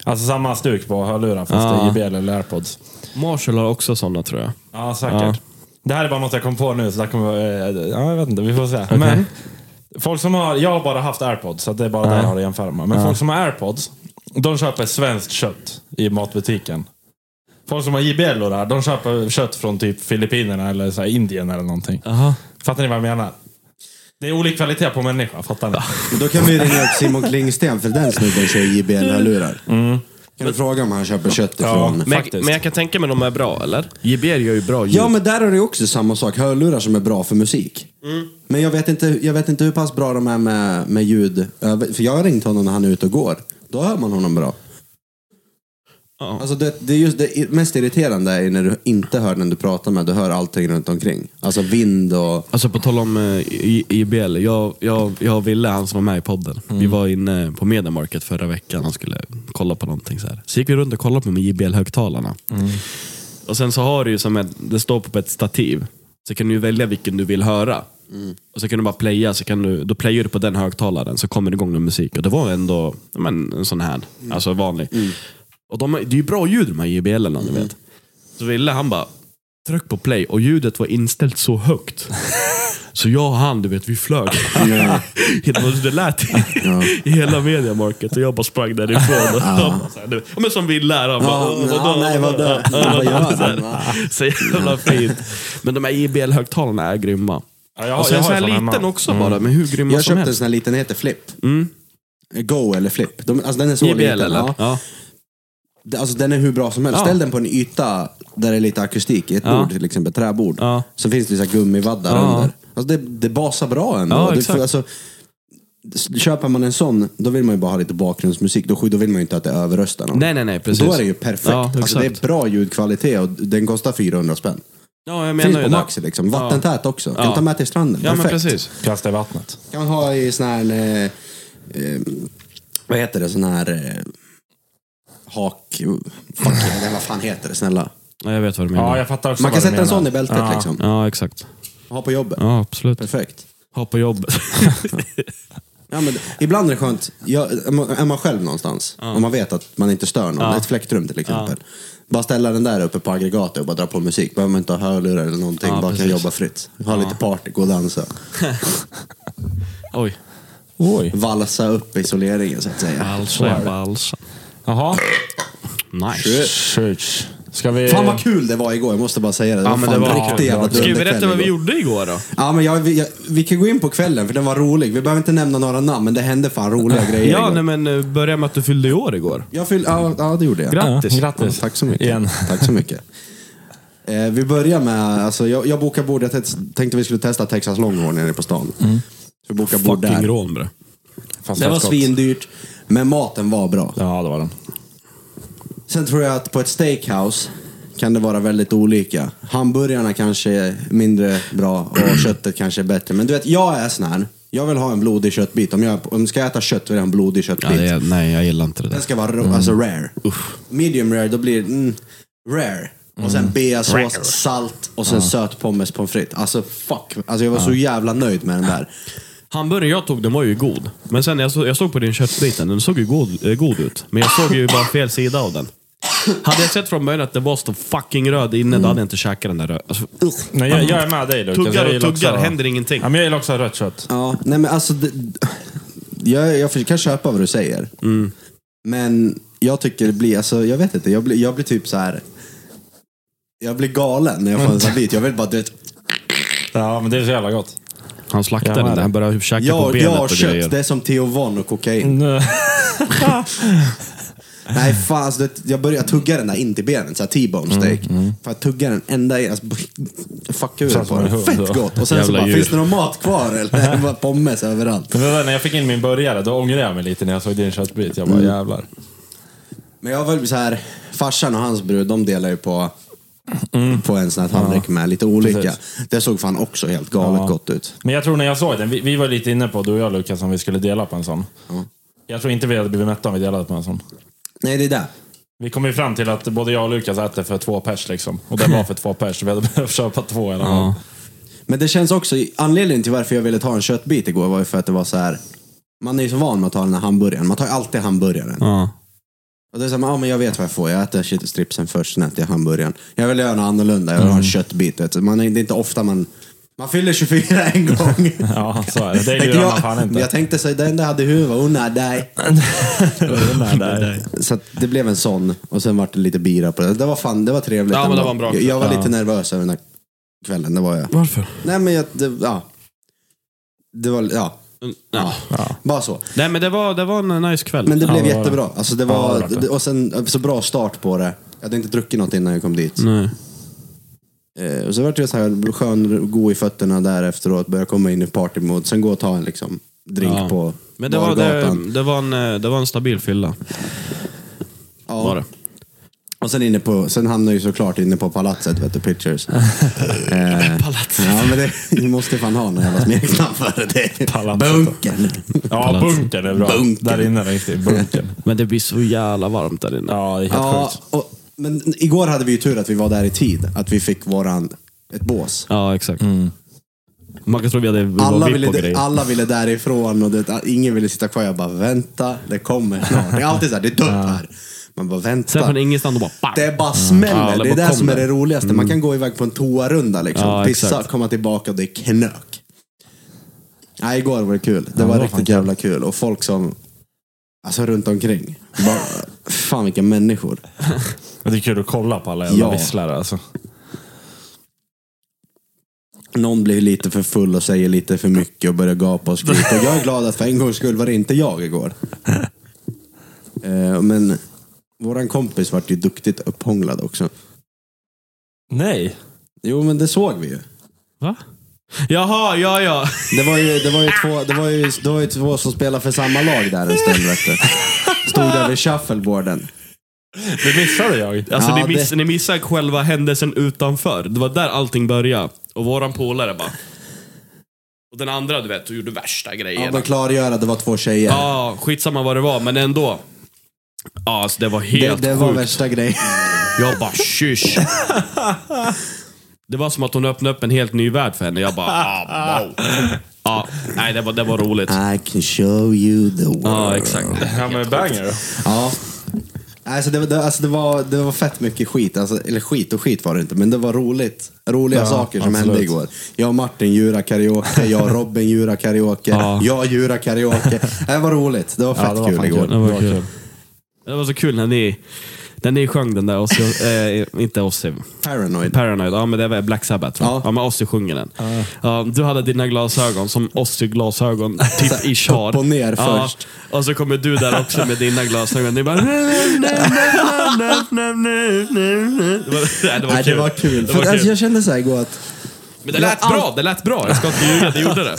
Speaker 2: Alltså samma stuk på hörlurar fast det är JBL eller airpods.
Speaker 4: Marshall har också sådana tror jag.
Speaker 2: Ja, säkert.
Speaker 4: Ja.
Speaker 2: Det här är bara något jag kom på nu, så där kommer jag, eh, ja, jag vet inte, vi får se. Men, folk som har, jag har bara haft airpods, så det är bara det jag har att jämföra med. Men folk som har airpods, de köper svenskt kött i matbutiken. Folk som har JBL och det här, de köper kött från typ Filippinerna eller så här Indien eller någonting.
Speaker 4: Aha.
Speaker 2: Fattar ni vad jag menar? Det är olika kvalitet på människa, fattar ni?
Speaker 3: Men då kan vi ringa upp Simon Klingsten, för den snubben kör JBL-hörlurar. Kan du fråga om han köper kött ifrån...
Speaker 4: Mm. Men, jag-
Speaker 2: Faktiskt.
Speaker 4: men jag kan tänka mig de är bra, eller? JBL gör ju bra ljud.
Speaker 3: Ja, men där är det också samma sak. Hörlurar som är bra för musik. Men jag vet, inte, jag vet inte hur pass bra de är med, med ljud. över- För jag har ringt honom när han är ute och går. Då hör man honom bra.
Speaker 4: Ja.
Speaker 3: Alltså det, det, är just det mest irriterande är ju när du inte hör den du pratar med. Du hör allting runt omkring. Alltså vind och...
Speaker 4: Alltså på tal om eh, J- JBL, jag, jag, jag ville han som var med i podden. Vi var inne på Media Market förra veckan, han skulle kolla på någonting. Så, här. så gick vi runt och kollade på med JBL-högtalarna. Och sen så har du ju som ett, det står på ett stativ, så kan du ju välja vilken du vill höra.
Speaker 3: Mm.
Speaker 4: Och så kan du bara playa, så kan du, då playar du på den högtalaren så kommer det igång med musik. Och det var ändå ja, men, en sån här,
Speaker 3: Mm.
Speaker 4: alltså vanlig. Och de, det är ju bra ljud de här JBL-erna,
Speaker 3: Mm.
Speaker 4: du vet. Så ville han bara, tryck på play och ljudet var inställt så högt. Så jag och han, du vet, vi flög. Helt- Det lät i, i hela media market och jag bara sprang därifrån. Och han bara så här, du vet, ja. men som Wille här, han bara...
Speaker 3: Ja,
Speaker 4: "Åh,
Speaker 3: men,
Speaker 4: vadå,
Speaker 3: ah, nej, vadå?
Speaker 4: vadå?"
Speaker 3: Vad gör han?
Speaker 4: Så här, Så jävla fint. Men de här JBL-högtalarna är grymma.
Speaker 2: Ja, jag, har-
Speaker 4: Och så
Speaker 2: jag
Speaker 4: en
Speaker 2: har
Speaker 4: sån
Speaker 2: ju såna
Speaker 4: här
Speaker 2: Mm.
Speaker 4: liten
Speaker 2: hemma.
Speaker 4: också bara, men hur grymma
Speaker 3: Jag
Speaker 4: som
Speaker 3: köpte en
Speaker 4: helst. Mm.
Speaker 3: sån här liten, heter Flip. Go eller Flip. De, alltså den är så
Speaker 4: JBL
Speaker 3: liten.
Speaker 4: eller?
Speaker 3: Ja.
Speaker 4: Ja.
Speaker 3: Det- Alltså den är hur bra som helst.
Speaker 4: Ja.
Speaker 3: Ställ den på en yta där det är lite akustik, i ett
Speaker 4: Ja.
Speaker 3: bord till exempel, träbord.
Speaker 4: Ja.
Speaker 3: Så finns det så här gummivaddar
Speaker 4: Ja.
Speaker 3: under. Alltså det, det basar bra ändå.
Speaker 4: Ja,
Speaker 3: Det-
Speaker 4: exakt.
Speaker 3: för alltså, s- köper man en sån, då vill man ju bara ha lite bakgrundsmusik. Då, då vill man ju inte att det överröstar någon.
Speaker 4: Nej, nej, nej, precis.
Speaker 3: Då är det ju perfekt.
Speaker 4: Ja,
Speaker 3: alltså det är
Speaker 4: exakt.
Speaker 3: bra ljudkvalitet och den kostar 400 spänn.
Speaker 4: Ja, jag
Speaker 3: Finns
Speaker 4: menar ju
Speaker 3: på
Speaker 4: det.
Speaker 3: Maxi liksom. Vattentät också. Kan
Speaker 4: Ja.
Speaker 3: ta med till stranden.
Speaker 4: Ja, men
Speaker 3: Perfekt.
Speaker 4: precis.
Speaker 2: Kasta i vattnet.
Speaker 3: Kan ha i sån här... Eh, eh, vad heter det? Sån här... Eh, hak... Fuck, eller vad fan heter det? Snälla.
Speaker 4: Ja, jag vet vad du menar.
Speaker 2: Ja,
Speaker 4: Ja,
Speaker 2: jag fattar också
Speaker 3: Man kan
Speaker 2: vad du
Speaker 3: sätta en
Speaker 2: menar.
Speaker 3: sån i bältet liksom.
Speaker 4: exakt.
Speaker 3: Ha på jobbet.
Speaker 4: Ja, absolut.
Speaker 3: Perfekt.
Speaker 4: Ha på jobbet.
Speaker 3: Ja, men ibland är det skönt, jag, är man själv någonstans och man vet att man inte stör någon, ett fläktrum till exempel. Bara ställa den där uppe på aggregatet och bara dra på musik. Behöver man inte ha hörlurar eller någonting,
Speaker 4: Ja,
Speaker 3: bara kan
Speaker 4: precis.
Speaker 3: jobba fritt. Ha lite party, gå och dansa.
Speaker 4: Oj.
Speaker 2: Oj.
Speaker 3: Valsa upp isoleringen så att säga.
Speaker 4: Alltså,
Speaker 2: är det.
Speaker 4: alltså.
Speaker 2: Jaha.
Speaker 4: Nice.
Speaker 2: Church. Ska vi...
Speaker 3: Fan vad kul det var igår, jag måste bara säga det. Det
Speaker 4: Ja,
Speaker 3: var
Speaker 4: men
Speaker 3: fan
Speaker 4: det
Speaker 3: en
Speaker 4: var
Speaker 3: riktig
Speaker 4: kul.
Speaker 3: jävla
Speaker 4: Ska vi
Speaker 3: dunderkväll
Speaker 4: berätta vad vi
Speaker 3: igår.
Speaker 4: gjorde igår då?
Speaker 3: Ja, men jag, jag, vi kan gå in på kvällen för den var rolig. Vi behöver inte nämna några namn, men det hände fan roliga grejer
Speaker 4: Ja,
Speaker 3: igår.
Speaker 4: nej, men eh, börja med att du fyllde i år igår.
Speaker 3: Jag fyll, ja, ja, det gjorde jag.
Speaker 4: Grattis.
Speaker 2: Ja, grattis.
Speaker 3: Ja, tack så mycket.
Speaker 2: Igen.
Speaker 3: Tack så mycket. Eh, vi börjar med, alltså, jag, jag bokar bord, jag te- tänkte vi skulle testa Texas Longhorn nere på stan. Så vi bokar bord
Speaker 4: Mm. Fucking
Speaker 3: där.
Speaker 4: rån bre.
Speaker 2: Fast
Speaker 3: Det var
Speaker 2: fett gott.
Speaker 3: svindyrt, men maten var bra.
Speaker 2: Ja, det var den.
Speaker 3: Sen tror jag att på ett steakhouse kan det vara väldigt olika. Hamburgarna kanske är mindre bra och köttet kanske är bättre. Men du vet, jag är sån här. Jag vill ha en blodig köttbit. Om jag om jag ska äta kött vill jag ha en blodig köttbit.
Speaker 4: nej, jag gillar inte det
Speaker 3: Den ska vara ro- alltså rare. Medium rare, då blir det mm, rare. Och sen beasås, salt och sen söt pommes pommes frites. Alltså fuck. Alltså, jag var så jävla nöjd med den där.
Speaker 4: Hamburgaren jag tog, den var ju god. Men sen när jag, så, jag såg på din köttbiten, den såg ju god, eh, god ut. Men jag såg ju bara fel sida av den. Hade jag sett från början att den var så fucking röd inne, då hade jag inte käkat den där röda. Alltså,
Speaker 2: Nej, jag, jag är med dig Lukas.
Speaker 4: Tuggar och
Speaker 2: Jag gillar
Speaker 4: tuggar,
Speaker 2: också-
Speaker 4: händer ingenting.
Speaker 2: Ja, men jag gillar också rött kött.
Speaker 3: Ja, nej men alltså. Det, jag, jag kan köpa vad du säger.
Speaker 4: Mm.
Speaker 3: Men jag tycker det blir, alltså jag vet inte, jag blir, jag blir typ så här. Jag blir galen när jag får en sån här bit. Jag vill bara, du
Speaker 4: Typ
Speaker 3: vet,
Speaker 2: Ja, men det är så jävla gott.
Speaker 4: han slaktade
Speaker 2: Jag
Speaker 4: den
Speaker 2: med.
Speaker 4: där, han började käka på
Speaker 3: jag,
Speaker 4: benet
Speaker 3: jag
Speaker 4: och
Speaker 3: och
Speaker 4: grejer. Mm.
Speaker 3: kött, det är som Theo Von och kokain.
Speaker 2: Nu-
Speaker 3: Nej fan, alltså, det- jag började tugga den där in till benen, såhär T-bone
Speaker 4: Mm,
Speaker 3: steak. För att tugga den ända i, alltså, fuck huvudet
Speaker 2: Satt
Speaker 3: på
Speaker 2: man i
Speaker 3: den.
Speaker 2: hund
Speaker 3: Fett
Speaker 2: då.
Speaker 3: gott! Och sen så
Speaker 4: Jävla
Speaker 3: bara,
Speaker 4: djur.
Speaker 3: finns det någon mat kvar eller? Det var pommes överallt.
Speaker 2: Men det där, när jag fick in min burgare, då ångrade jag mig lite när jag såg din köttbit. Jag
Speaker 3: Mm.
Speaker 2: bara, jävlar.
Speaker 3: Men jag var väl såhär, farsan och hans brud, de delar ju på
Speaker 2: Mm.
Speaker 3: På en sån här tallrik med lite olika. Det såg fan också helt galet
Speaker 2: Ja.
Speaker 3: gott ut.
Speaker 2: Men jag tror när jag såg den, vi, vi var lite inne på, du och jag Lukas, om vi skulle dela på en sån. Jag tror inte vi hade blivit mätta om vi delade på en sån.
Speaker 3: Nej, det är det.
Speaker 2: Vi kom ju fram till att både jag och Lukas äter för två pers liksom. Och det var för två pers, så vi hade behövt köpa två i alla fall.
Speaker 3: Men det känns också, anledningen till varför jag ville ta en köttbit igår var ju för att det var så här. Man är ju så van med att ta den här hamburgaren. Man tar ju alltid hamburgaren.
Speaker 4: Ja.
Speaker 3: Och det är så här, ja men jag vet vad jag får. Jag äter shit- stripsen först, sen äter jag hamburgaren. Jag vill göra något annorlunda. Jag vill ha
Speaker 2: Mm.
Speaker 3: en köttbit. Vet du. Man är, det är inte ofta man... Man fyller 24 en gång.
Speaker 2: Ja, så är det. Det
Speaker 3: Tänkte
Speaker 2: gillar man
Speaker 3: jag,
Speaker 2: fan inte.
Speaker 3: jag tänkte så här, den där hade huvud. Oh, nej, nej. Så att det blev en sån. Och sen vart det lite bira på det. Det var fan, det var trevligt.
Speaker 4: Ja, men det
Speaker 3: ändå.
Speaker 4: var en bra
Speaker 3: jag,
Speaker 4: kväll.
Speaker 3: jag var
Speaker 4: Ja.
Speaker 3: lite nervös över den här kvällen. Det var jag.
Speaker 4: Varför?
Speaker 3: Nej men jag, det, ja. Det var, ja.
Speaker 4: Mm, Ja.
Speaker 3: Bara så.
Speaker 4: Nej men det var, det var en eh, nice kväll.
Speaker 3: Men det
Speaker 4: Ja.
Speaker 3: blev
Speaker 2: det var det.
Speaker 3: jättebra. Alltså det
Speaker 2: Ja,
Speaker 3: var,
Speaker 2: det var det.
Speaker 3: och sen så bra start på det. Jag hade inte druckit något innan jag kom dit.
Speaker 4: Nej.
Speaker 3: Eh, och så vart jag så här skön, god i fötterna där efteråt. Började komma in i partymode. Sen gå och ta en liksom drink
Speaker 4: Ja.
Speaker 3: på
Speaker 4: Men det var, det,
Speaker 3: bargatan.
Speaker 4: det, var en, eh, det var en stabil fylla.
Speaker 3: Ja.
Speaker 4: Var det.
Speaker 3: Och sen inne på, sen hamnade jag ju såklart inne på palatset, vet du, pictures. eh,
Speaker 4: Palatset.
Speaker 3: ja men det, du måste fan ha någon jävla smeknamn för det.
Speaker 2: Palatset.
Speaker 3: Bunkern.
Speaker 2: Ja, bunkern är bra.
Speaker 3: Bunkern.
Speaker 2: Där inne längst i bunkern.
Speaker 4: Men det blir så jävla varmt där inne.
Speaker 2: Ja, det är helt
Speaker 3: Ja,
Speaker 2: sjukt.
Speaker 3: och, men igår hade vi ju tur att vi var där i tid. Att vi fick våran, ett bås.
Speaker 4: Ja, exakt. Man kan tro Mm. vi hade vi var
Speaker 3: Alla
Speaker 4: VIP och
Speaker 3: ville,
Speaker 4: grejer.
Speaker 3: alla ville därifrån och det, ingen ville sitta kvar. Jag bara, vänta, det kommer snart. Det är alltid så här, det är dött här. Man bara,
Speaker 4: Sen
Speaker 3: vänta.
Speaker 4: från ingenstans och bara bam!
Speaker 3: Det är bara smäller.
Speaker 4: Ja, det
Speaker 3: det är
Speaker 4: bara
Speaker 3: det som är
Speaker 4: kommer.
Speaker 3: det roligaste. Man kan gå iväg på en toarunda liksom.
Speaker 4: Ja,
Speaker 3: Pissa,
Speaker 4: exakt.
Speaker 3: komma tillbaka och det är knök. Nej, igår var det kul. Det var
Speaker 2: det var fan
Speaker 3: riktigt jävla kul. Och folk som, alltså runt omkring. Bara, fan vilka människor.
Speaker 2: Det är kul att kolla på alla jävla
Speaker 3: Ja.
Speaker 2: visslare alltså.
Speaker 3: Någon blir lite för full och säger lite för mycket och börjar gapa och skrika. Och jag är glad att för en gångs skull var det inte jag igår. Eh, Men våran kompis vart ju duktigt upphånglad också.
Speaker 2: Nej!
Speaker 3: Jo, men det såg vi ju.
Speaker 4: Va? Jaha, ja, ja.
Speaker 3: Det var ju, det var ju, två, det var ju, det var ju två som spelade för samma lag där en stund, vet du. Stod där vid shuffleboarden.
Speaker 2: Det missade jag.
Speaker 4: Alltså,
Speaker 3: Ja,
Speaker 4: ni, miss,
Speaker 3: det-
Speaker 4: ni missar själva händelsen utanför. Det var där allting började. Och våran polare bara... Och den andra, du vet, gjorde värsta
Speaker 3: Ja,
Speaker 4: grejen.
Speaker 3: men klargöra, det var två tjejer.
Speaker 4: Ja, skitsamma vad det var, men ändå. Ja, alltså det var
Speaker 3: det,
Speaker 4: helt
Speaker 3: det var
Speaker 4: sjukt.
Speaker 3: värsta grejen.
Speaker 4: Jag bara shush. Det var som att hon öppnade upp en helt ny värld för henne. Jag bara ah, wow. Ja, nej det var, det var roligt.
Speaker 3: I can show you the world.
Speaker 4: Ja, exakt.
Speaker 2: Ja, men banger. då.
Speaker 3: Ja. Alltså, det, var- det, alltså det, var, det var fett mycket skit. Alltså, eller skit och skit var det inte, men det var roligt. Roliga
Speaker 2: Ja,
Speaker 3: saker som
Speaker 2: absolut.
Speaker 3: hände igår. Jag och Martin djura karaoke, jag och Robin djura karaoke,
Speaker 4: Ja.
Speaker 3: jag djura karaoke. Det var roligt. Det var fett
Speaker 2: Ja, det var
Speaker 3: kul
Speaker 2: fan
Speaker 3: igår.
Speaker 2: kul.
Speaker 4: Det var
Speaker 2: Det var
Speaker 4: kul.
Speaker 2: kul.
Speaker 4: Det var så kul när ni, när ni sjöng den där, Ozzy, eh, inte Ozzy,
Speaker 3: Paranoid.
Speaker 4: Paranoid, ja men det var Black Sabbath tror jag.
Speaker 3: Ja.
Speaker 4: Ja, men Ozzy sjunger den. Ja, du hade dina glasögon som Ozzy-glasögon, typ i char.
Speaker 3: upp och ner först.
Speaker 4: Och så kommer du där också med dina glasögon. Ni bara... Det var, nej, det var
Speaker 3: Nej, det
Speaker 4: kul.
Speaker 3: var kul.
Speaker 4: Det
Speaker 3: För
Speaker 4: var
Speaker 3: Alltså,
Speaker 4: kul.
Speaker 3: jag kände så här igår att
Speaker 4: Men det lät bra, det lät bra. Jag ska inte ljuga, det gjorde det.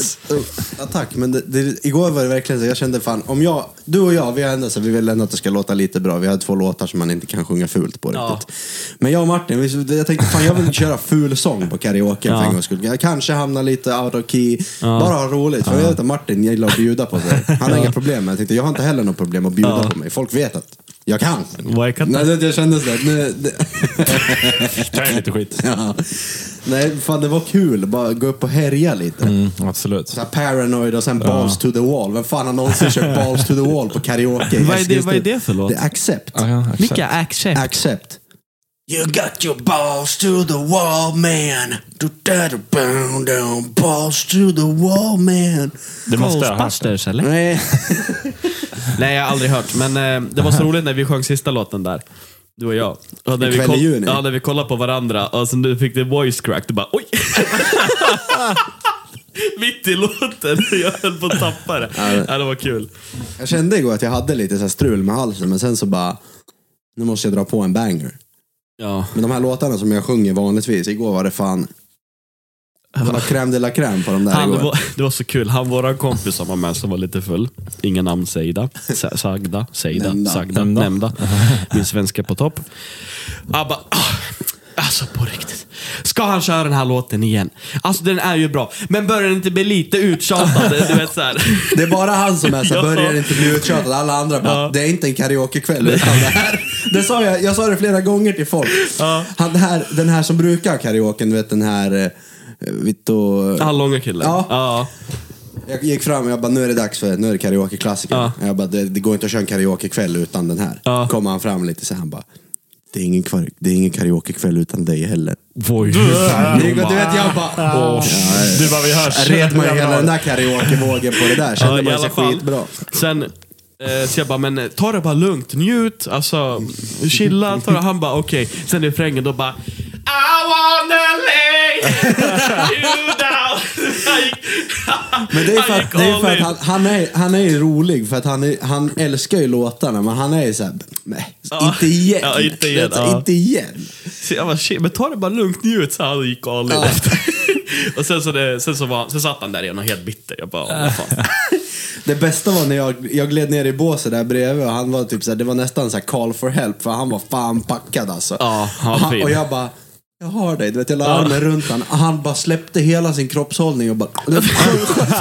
Speaker 3: Ja, tack, men det, det, igår var det verkligen så. Jag kände fan, om jag, du och jag, vi har ändå så vi vill ändå att det ska låta lite bra. Vi har två låtar som man inte kan sjunga fult på
Speaker 4: Ja.
Speaker 3: riktigt. Men jag och Martin, vi, jag tänkte fan jag vill köra ful sång på karaoke för en gångs skull. Jag kanske hamnar lite out of key. Bara ha roligt, för jag vet att Martin gillar att bjuda på sig. Han har inga problem med det. Jag tänkte, jag har inte heller något problem att bjuda på mig. Folk vet att jag kan.
Speaker 4: Vad kan-
Speaker 3: Nej, det, jag kände sådär, nu, det,
Speaker 2: Kan ju lite skit.
Speaker 3: ja. Nej, fan det var kul. Bara gå upp och härja lite.
Speaker 2: Mm, absolut.
Speaker 3: Så här paranoid och sen balls to the wall. Vem fan har någonsin kört balls to the wall på karaoke?
Speaker 4: Vad är det- vad är det för låt?
Speaker 3: Det är accept.
Speaker 4: Vilka action?
Speaker 3: Accept. You got your balls to the wall man. Du da da boom down balls to the wall man.
Speaker 2: Det måste jag ha haft.
Speaker 4: Ghostbusters eller?
Speaker 3: Nej.
Speaker 4: Nej, jag har aldrig hört. Men eh, det var så roligt när vi sjöng sista låten där. Du och jag. Och när, vi
Speaker 3: Ikväll i juni.
Speaker 4: ja, när vi kollade på varandra och sen du fick det voice crack. Du bara oj! Mitt i låten. Jag höll på att tappa det. Ja, det var kul.
Speaker 3: Jag kände igår att jag hade lite så här strul med halsen men sen så bara, nu måste jag dra på en banger.
Speaker 4: Ja.
Speaker 3: Men de här låtarna som jag sjunger vanligtvis, igår var det fan, det var crème de la crème på de där
Speaker 4: Han,
Speaker 3: igår.
Speaker 4: var, det var så kul. Han, våran kompis som var med, som var lite full. Inga namn sägda. Sa- Sagda, sägda,
Speaker 3: Nämnda.
Speaker 4: sagda, nämnda. Min svenska på topp. Han bara, "Ah, alltså på riktigt. Ska han köra den här låten igen? Alltså den är ju bra, men börjar den inte bli lite uttjatad? Du vet så här.
Speaker 3: Det är bara han som är så här,
Speaker 4: Ja.
Speaker 3: börjar inte bli uttjatad. Alla andra bara, det är inte en karaokekväll utan det här. Det sa jag, jag sa det flera gånger till folk. Han, den, här, den här som brukar ha karaoken, du vet den här eh, Vitto...
Speaker 4: Han långa killen.
Speaker 3: Ja.
Speaker 4: ja.
Speaker 3: Jag gick fram och jag bara, nu är det dags för, nu är det karaokeklassiker.
Speaker 4: Ja.
Speaker 3: Jag bara, det, det går inte att köra en karaokekväll utan den här.
Speaker 4: Ja.
Speaker 3: Kommer han fram lite så här, han bara, det är ingen, kvar- det är ingen karaokekväll utan dig heller.
Speaker 4: Voi, hur fan
Speaker 3: Du vet,
Speaker 4: jobbar?
Speaker 3: jag bara,
Speaker 4: Åh,
Speaker 2: Du bara, vi hörs.
Speaker 3: red man hela den där karaokevågen på det där. Kände
Speaker 4: Ja, i
Speaker 3: man sig
Speaker 4: alla fall.
Speaker 3: skitbra.
Speaker 4: Sen, eh, så jag bara, men eh, ta det bara lugnt, njut, alltså chilla. Ta det. Han bara, okej. Sen i refrängen då bara, I wanna lay you down.
Speaker 3: Men det är för
Speaker 4: Han
Speaker 3: att,
Speaker 4: gick
Speaker 3: det är
Speaker 4: all
Speaker 3: för att
Speaker 4: in.
Speaker 3: han, han, är, han är ju rolig för att han, är, han älskar ju låtarna men han är ju såhär, nej,
Speaker 4: Ja.
Speaker 3: inte igen.
Speaker 4: Ja, inte
Speaker 3: Det
Speaker 4: igen,
Speaker 3: är så,
Speaker 4: ja.
Speaker 3: Inte igen.
Speaker 4: Så jag bara, shit, men ta det bara lugnt, njut. Så han gick all in
Speaker 3: Ja.
Speaker 4: efter. Och sen, så det, sen, så var, sen satt han där igen och helt bitter. Jag bara, "Åh, vad fan.
Speaker 3: Det bästa var när jag, jag gled ner i båset där bredvid och han var typ såhär, det var nästan såhär call for help för han var fan packad alltså.
Speaker 4: Ja, han var
Speaker 3: Och
Speaker 4: fin.
Speaker 3: och jag bara, jag har dig. Du vet, jag la armen runt han. Han bara släppte hela sin kroppshållning och bara...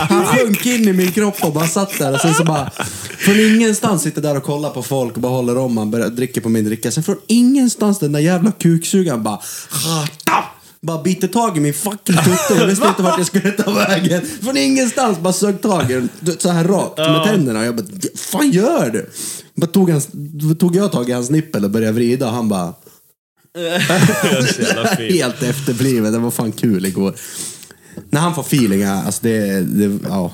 Speaker 3: Han sjönk in i min kropp och bara satt där. Och sen så bara... Från ingenstans sitter där och kollar på folk och bara håller om. Han börjar dricka på min dricka. Sen från ingenstans den där jävla kuksugaren bara... "Rata!" Bara biter tag i min fucking tutte. Jag visste inte vart jag skulle ta vägen. Från ingenstans bara sög tag i den. Du vet, Så här rakt med tänderna. Och jag bara, fan gör du? Bara tog, hans, tog jag tag i hans nippel och började vrida och han bara...
Speaker 4: Så jävla fin.
Speaker 3: Helt efterbliven. Det var fan kul igår. När han får feeling, ja, alltså det, det, ja.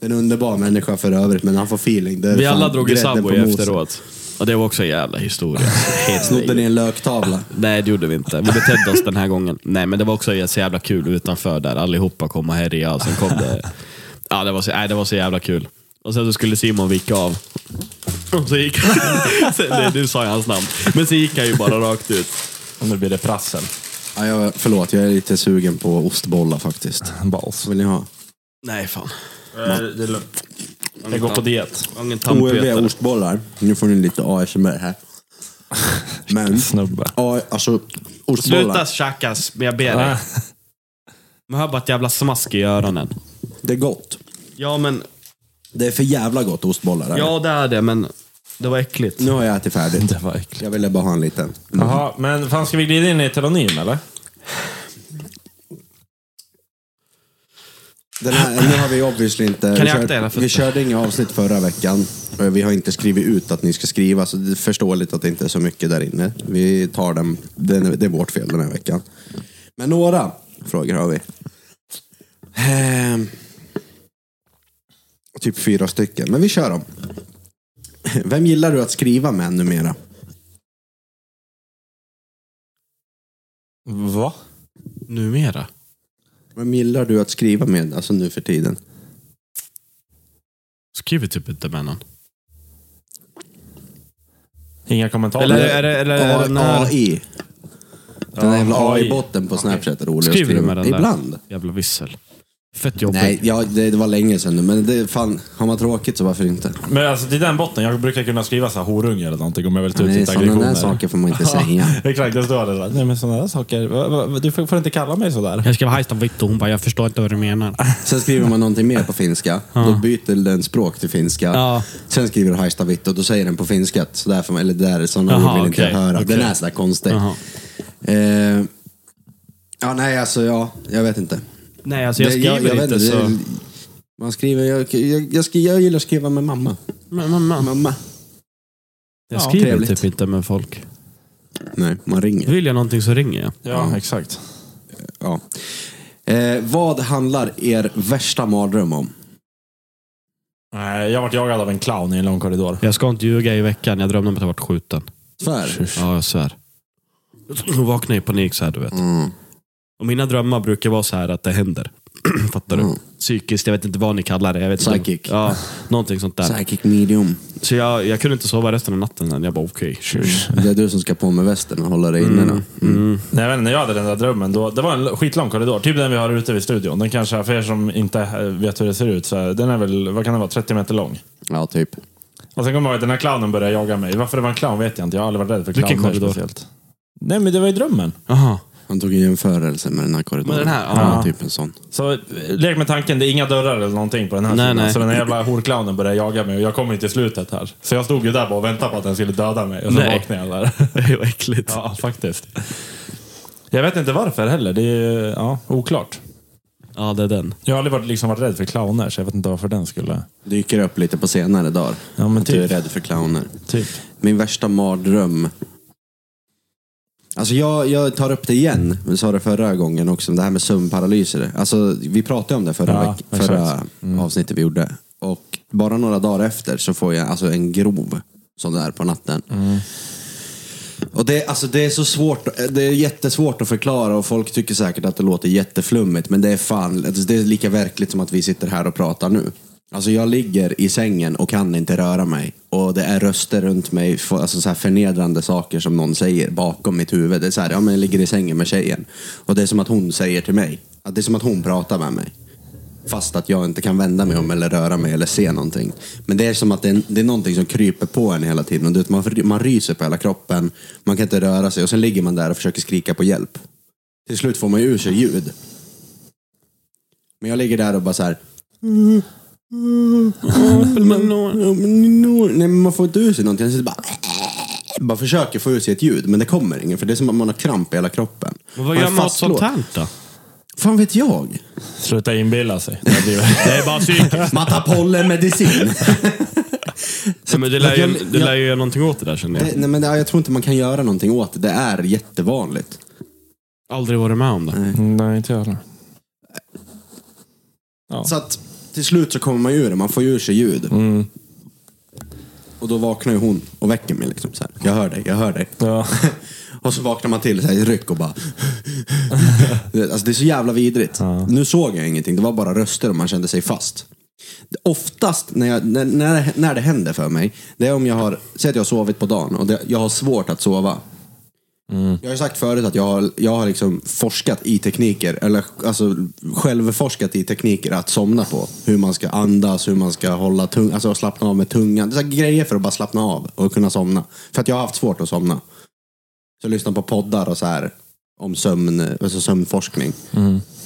Speaker 3: Det är En underbar människa för övrigt, men när han får feeling. det är
Speaker 4: Vi
Speaker 3: fan
Speaker 4: alla drog i
Speaker 3: grädden på
Speaker 4: Subway
Speaker 3: moset.
Speaker 4: efteråt. Och det var också en jävla historia. Alltså, Helt
Speaker 3: Snodde ni en löktavla?
Speaker 4: Nej, det gjorde vi inte. Vi betedde oss den här gången. Nej, men det var också så jävla kul utanför där. Allihopa kom och härjade och sen kom det... Ja, det var så, nej, det var så jävla kul. Och sen så skulle Simon vika av. Och så gick han... Sen, nej, nu sa jag hans namn. Men sen gick han ju bara rakt ut.
Speaker 2: Och nu blir det prassel.
Speaker 3: Ja, jag, förlåt, jag är lite sugen på ostbollar faktiskt.
Speaker 2: Balls.
Speaker 3: Vill ni ha?
Speaker 4: Nej, fan.
Speaker 2: Det är lugnt. Jag går på diet.
Speaker 4: Jag har ingen
Speaker 3: OEV
Speaker 4: tandpetare.
Speaker 3: ostbollar. Nu får ni lite ASMR här. Men,
Speaker 2: Snubbe.
Speaker 3: ja, alltså
Speaker 4: Sluta
Speaker 3: ostbollar.
Speaker 4: tjackas, men jag ber dig. Man hör bara ett jävla smask i öronen.
Speaker 3: Det är gott.
Speaker 4: Ja, men...
Speaker 3: Det är för jävla gott ostbollar. är det.
Speaker 4: Ja, det är det, men det var äckligt.
Speaker 3: Nu har jag ätit färdigt.
Speaker 2: Det var äckligt.
Speaker 3: Jag ville bara ha en liten.
Speaker 2: Jaha, men fan ska vi glida in i telonym eller?
Speaker 3: Den här, nu har vi obviously inte...
Speaker 4: Kan
Speaker 3: vi,
Speaker 4: jag akta
Speaker 3: körde,
Speaker 4: era fötter?
Speaker 3: vi körde inga avsnitt förra veckan. Eh, Vi har inte skrivit ut att ni ska skriva, så det är förståeligt att det inte är så mycket där inne. Vi tar dem. Den, är- det är vårt fel den här veckan. Men några frågor har vi. Ehm, typ fyra stycken, men vi kör dem. Vem gillar du att skriva med numera?
Speaker 2: Va?
Speaker 4: Numera?
Speaker 3: Vem gillar du att skriva med, alltså nu för tiden?
Speaker 4: Skriver typ inte med någon.
Speaker 2: Inga kommentarer?
Speaker 4: Eller är det... Eller, är det den här-
Speaker 3: AI. Den där jävla
Speaker 2: Ja, AI.
Speaker 3: AI-botten på Snapchat är rolig att
Speaker 4: Skriver du
Speaker 3: skriva
Speaker 4: med den där?
Speaker 3: Ibland.
Speaker 4: Jävla vissel. Fett jobbigt.
Speaker 3: Nej, ja, det, det var länge sedan nu, men det, fan, har man tråkigt så varför inte?
Speaker 2: Men alltså till den botten, jag brukar kunna skriva så här horunge eller någonting om jag vill ta ut
Speaker 3: Nej,
Speaker 2: lite
Speaker 3: sådana där
Speaker 2: aggressioner.
Speaker 3: saker får man inte säga.
Speaker 2: Exakt, det står det så här. Nej men sådana där saker, va- va- du får får inte kalla mig sådär.
Speaker 4: Jag skrev hajsta vitt och hon bara, jag förstår inte vad du menar.
Speaker 3: Sen skriver man någonting mer på finska, då byter den språk till finska.
Speaker 4: Ja.
Speaker 3: Sen skriver du hajsta vitt och då säger den på finska, att sådär får man, eller det där är sådana
Speaker 4: Jaha,
Speaker 3: ord vill inte
Speaker 4: okej,
Speaker 3: jag höra.
Speaker 4: okej.
Speaker 3: Den är sådär konstig.
Speaker 4: Jaha.
Speaker 3: Eh, ja, nej alltså, ja, jag vet inte.
Speaker 4: Nej, alltså jag
Speaker 3: Det-
Speaker 4: skriver
Speaker 3: vet
Speaker 4: inte så...
Speaker 3: det- Man skriver, jag, jag, jag, skri- jag gillar att skriva med mamma.
Speaker 4: Men, men, men.
Speaker 3: Mamma.
Speaker 4: Jag
Speaker 3: Ja,
Speaker 4: skriver
Speaker 3: trevligt.
Speaker 4: typ inte med folk.
Speaker 3: Nej, man ringer.
Speaker 4: Vill jag någonting så ringer jag.
Speaker 2: Ja, exakt.
Speaker 3: Ja. Eh, vad handlar er värsta mardröm om?
Speaker 2: Nej, jag vart jagad av en clown i en lång korridor.
Speaker 4: Jag ska inte ljuga i veckan. Jag drömde om att jag varit skjuten.
Speaker 3: Svär.
Speaker 4: Ja, jag svär. Jag vaknade i panik så här, du vet. Och mina drömmar brukar vara så här att det händer. Fattar du? Psykiskt, jag vet inte vad ni kallar det. Jag vet inte.
Speaker 3: Psychic.
Speaker 4: Ja, någonting sånt där.
Speaker 3: Psychic medium.
Speaker 4: Så jag, jag kunde inte sova resten av natten. sen. Jag bara okej.
Speaker 3: Det är du som ska på med västen och hålla dig inne
Speaker 4: Mm,
Speaker 3: då. Mm.
Speaker 2: Nej, jag vet inte, när jag hade den där drömmen, då, det var en l- skitlång korridor. Typ den vi har ute vid studion. Den kanske, är- för er som inte eh, vet hur det ser ut, så är- den är väl, vad kan den vara, 30 meter lång.
Speaker 3: Ja, typ.
Speaker 2: Och sen kommer jag ihåg att den här clownen började jaga mig. Varför det var en clown vet jag inte. Jag har aldrig varit rädd för
Speaker 4: Vilken
Speaker 2: clowner
Speaker 4: korridor?
Speaker 2: speciellt. Nej, men det var ju drömmen.
Speaker 4: Aha.
Speaker 3: Han tog en jämförelse med den här korridoren.
Speaker 4: Med den här?
Speaker 3: Ja,
Speaker 2: Ja.
Speaker 3: typ en sån.
Speaker 2: Så eh, lek med tanken, det är inga dörrar eller någonting på den här
Speaker 4: Nej,
Speaker 2: sidan.
Speaker 4: nej.
Speaker 2: Så den här jävla horclownen började jaga mig och jag kom inte till slutet här. Så jag stod ju där bara och väntade på att den skulle döda mig. Och så
Speaker 4: Nej.
Speaker 2: vaknade jag där.
Speaker 4: Det var äckligt.
Speaker 2: ja, faktiskt. Jag vet inte varför heller. Det är eh, ja, oklart.
Speaker 4: Ja, det är den.
Speaker 2: Jag har aldrig varit, liksom, varit rädd för clowner, så jag vet inte varför den skulle...
Speaker 3: Dyker upp lite på senare dagar.
Speaker 2: Ja, men
Speaker 3: att du är
Speaker 2: typ.
Speaker 3: rädd för clowner.
Speaker 2: Typ.
Speaker 3: Min värsta mardröm. Alltså jag, jag tar upp det igen. Vi sa det förra gången också, det här med sömnparalyser. Alltså, vi pratade om det förra,
Speaker 2: Ja,
Speaker 3: veck- förra
Speaker 2: exakt. Mm.
Speaker 3: avsnittet vi gjorde. Och bara några dagar efter så får jag alltså en grov sån där på natten. Och det, alltså det är så svårt, det är jättesvårt att förklara och folk tycker säkert att det låter jätteflummigt men det är fan, alltså det är lika verkligt som att vi sitter här och pratar nu. Alltså jag ligger i sängen och kan inte röra mig och det är röster runt mig, f- alltså så här förnedrande saker som någon säger bakom mitt huvud. Det är så här, ja men jag ligger i sängen med tjejen och det är som att hon säger till mig, att det är som att hon pratar med mig. Fast att jag inte kan vända mig om eller röra mig eller se någonting. Men det är som att det är, det är någonting som kryper på en hela tiden. Och du vet, man, man ryser på hela kroppen, man kan inte röra sig och sen ligger man där och försöker skrika på hjälp. Till slut får man ju ur sig ljud. Men jag ligger där och bara så här. "Ja, men nå- Nej, men man får inte ur sig någonting. Jag sitter bara, bara försöker få ur sig ett ljud, men det kommer ingen. För det är som att man har kramp i hela kroppen.
Speaker 4: Men vad gör
Speaker 3: är
Speaker 4: man åt sånt
Speaker 3: fastlåst.
Speaker 4: här då?
Speaker 3: Fan vet jag?
Speaker 2: Sluta inbilla sig. Det, har blivit- det är bara psyk.
Speaker 3: Man tar pollenmedicin.
Speaker 4: Nej, men det lär ju,
Speaker 3: jag-
Speaker 4: det
Speaker 3: jag-
Speaker 4: lär ju göra någonting åt det där känner jag.
Speaker 3: Det, nej, men det, jag tror inte man kan göra någonting åt det. Det är jättevanligt.
Speaker 4: Aldrig varit med om det.
Speaker 2: Mm, Nej, inte jag heller. Ja.
Speaker 3: Så att till slut så kommer man ju ur det. Man får ju ur sig ljud. Och då vaknar ju hon och väcker mig. Liksom, så här. Jag hör dig, jag hör dig.
Speaker 2: Ja.
Speaker 3: Och så vaknar man till så här, i ryck och bara... Du vet, alltså, det är så jävla vidrigt. Nu såg jag ingenting. Det var bara röster och man kände sig fast. Oftast när, jag, när, när, när det händer för mig, det är om jag har... Säg att jag har sovit på dagen och det, jag har svårt att sova. Jag har ju sagt förut att jag har, jag har liksom forskat i tekniker, eller alltså självforskat i tekniker att somna på. Hur man ska andas, hur man ska hålla tungan, alltså slappna av med tungan. Det är så här grejer för att bara slappna av och kunna somna. För att jag har haft svårt att somna. Så lyssnar på poddar och så här om sömn, alltså sömnforskning.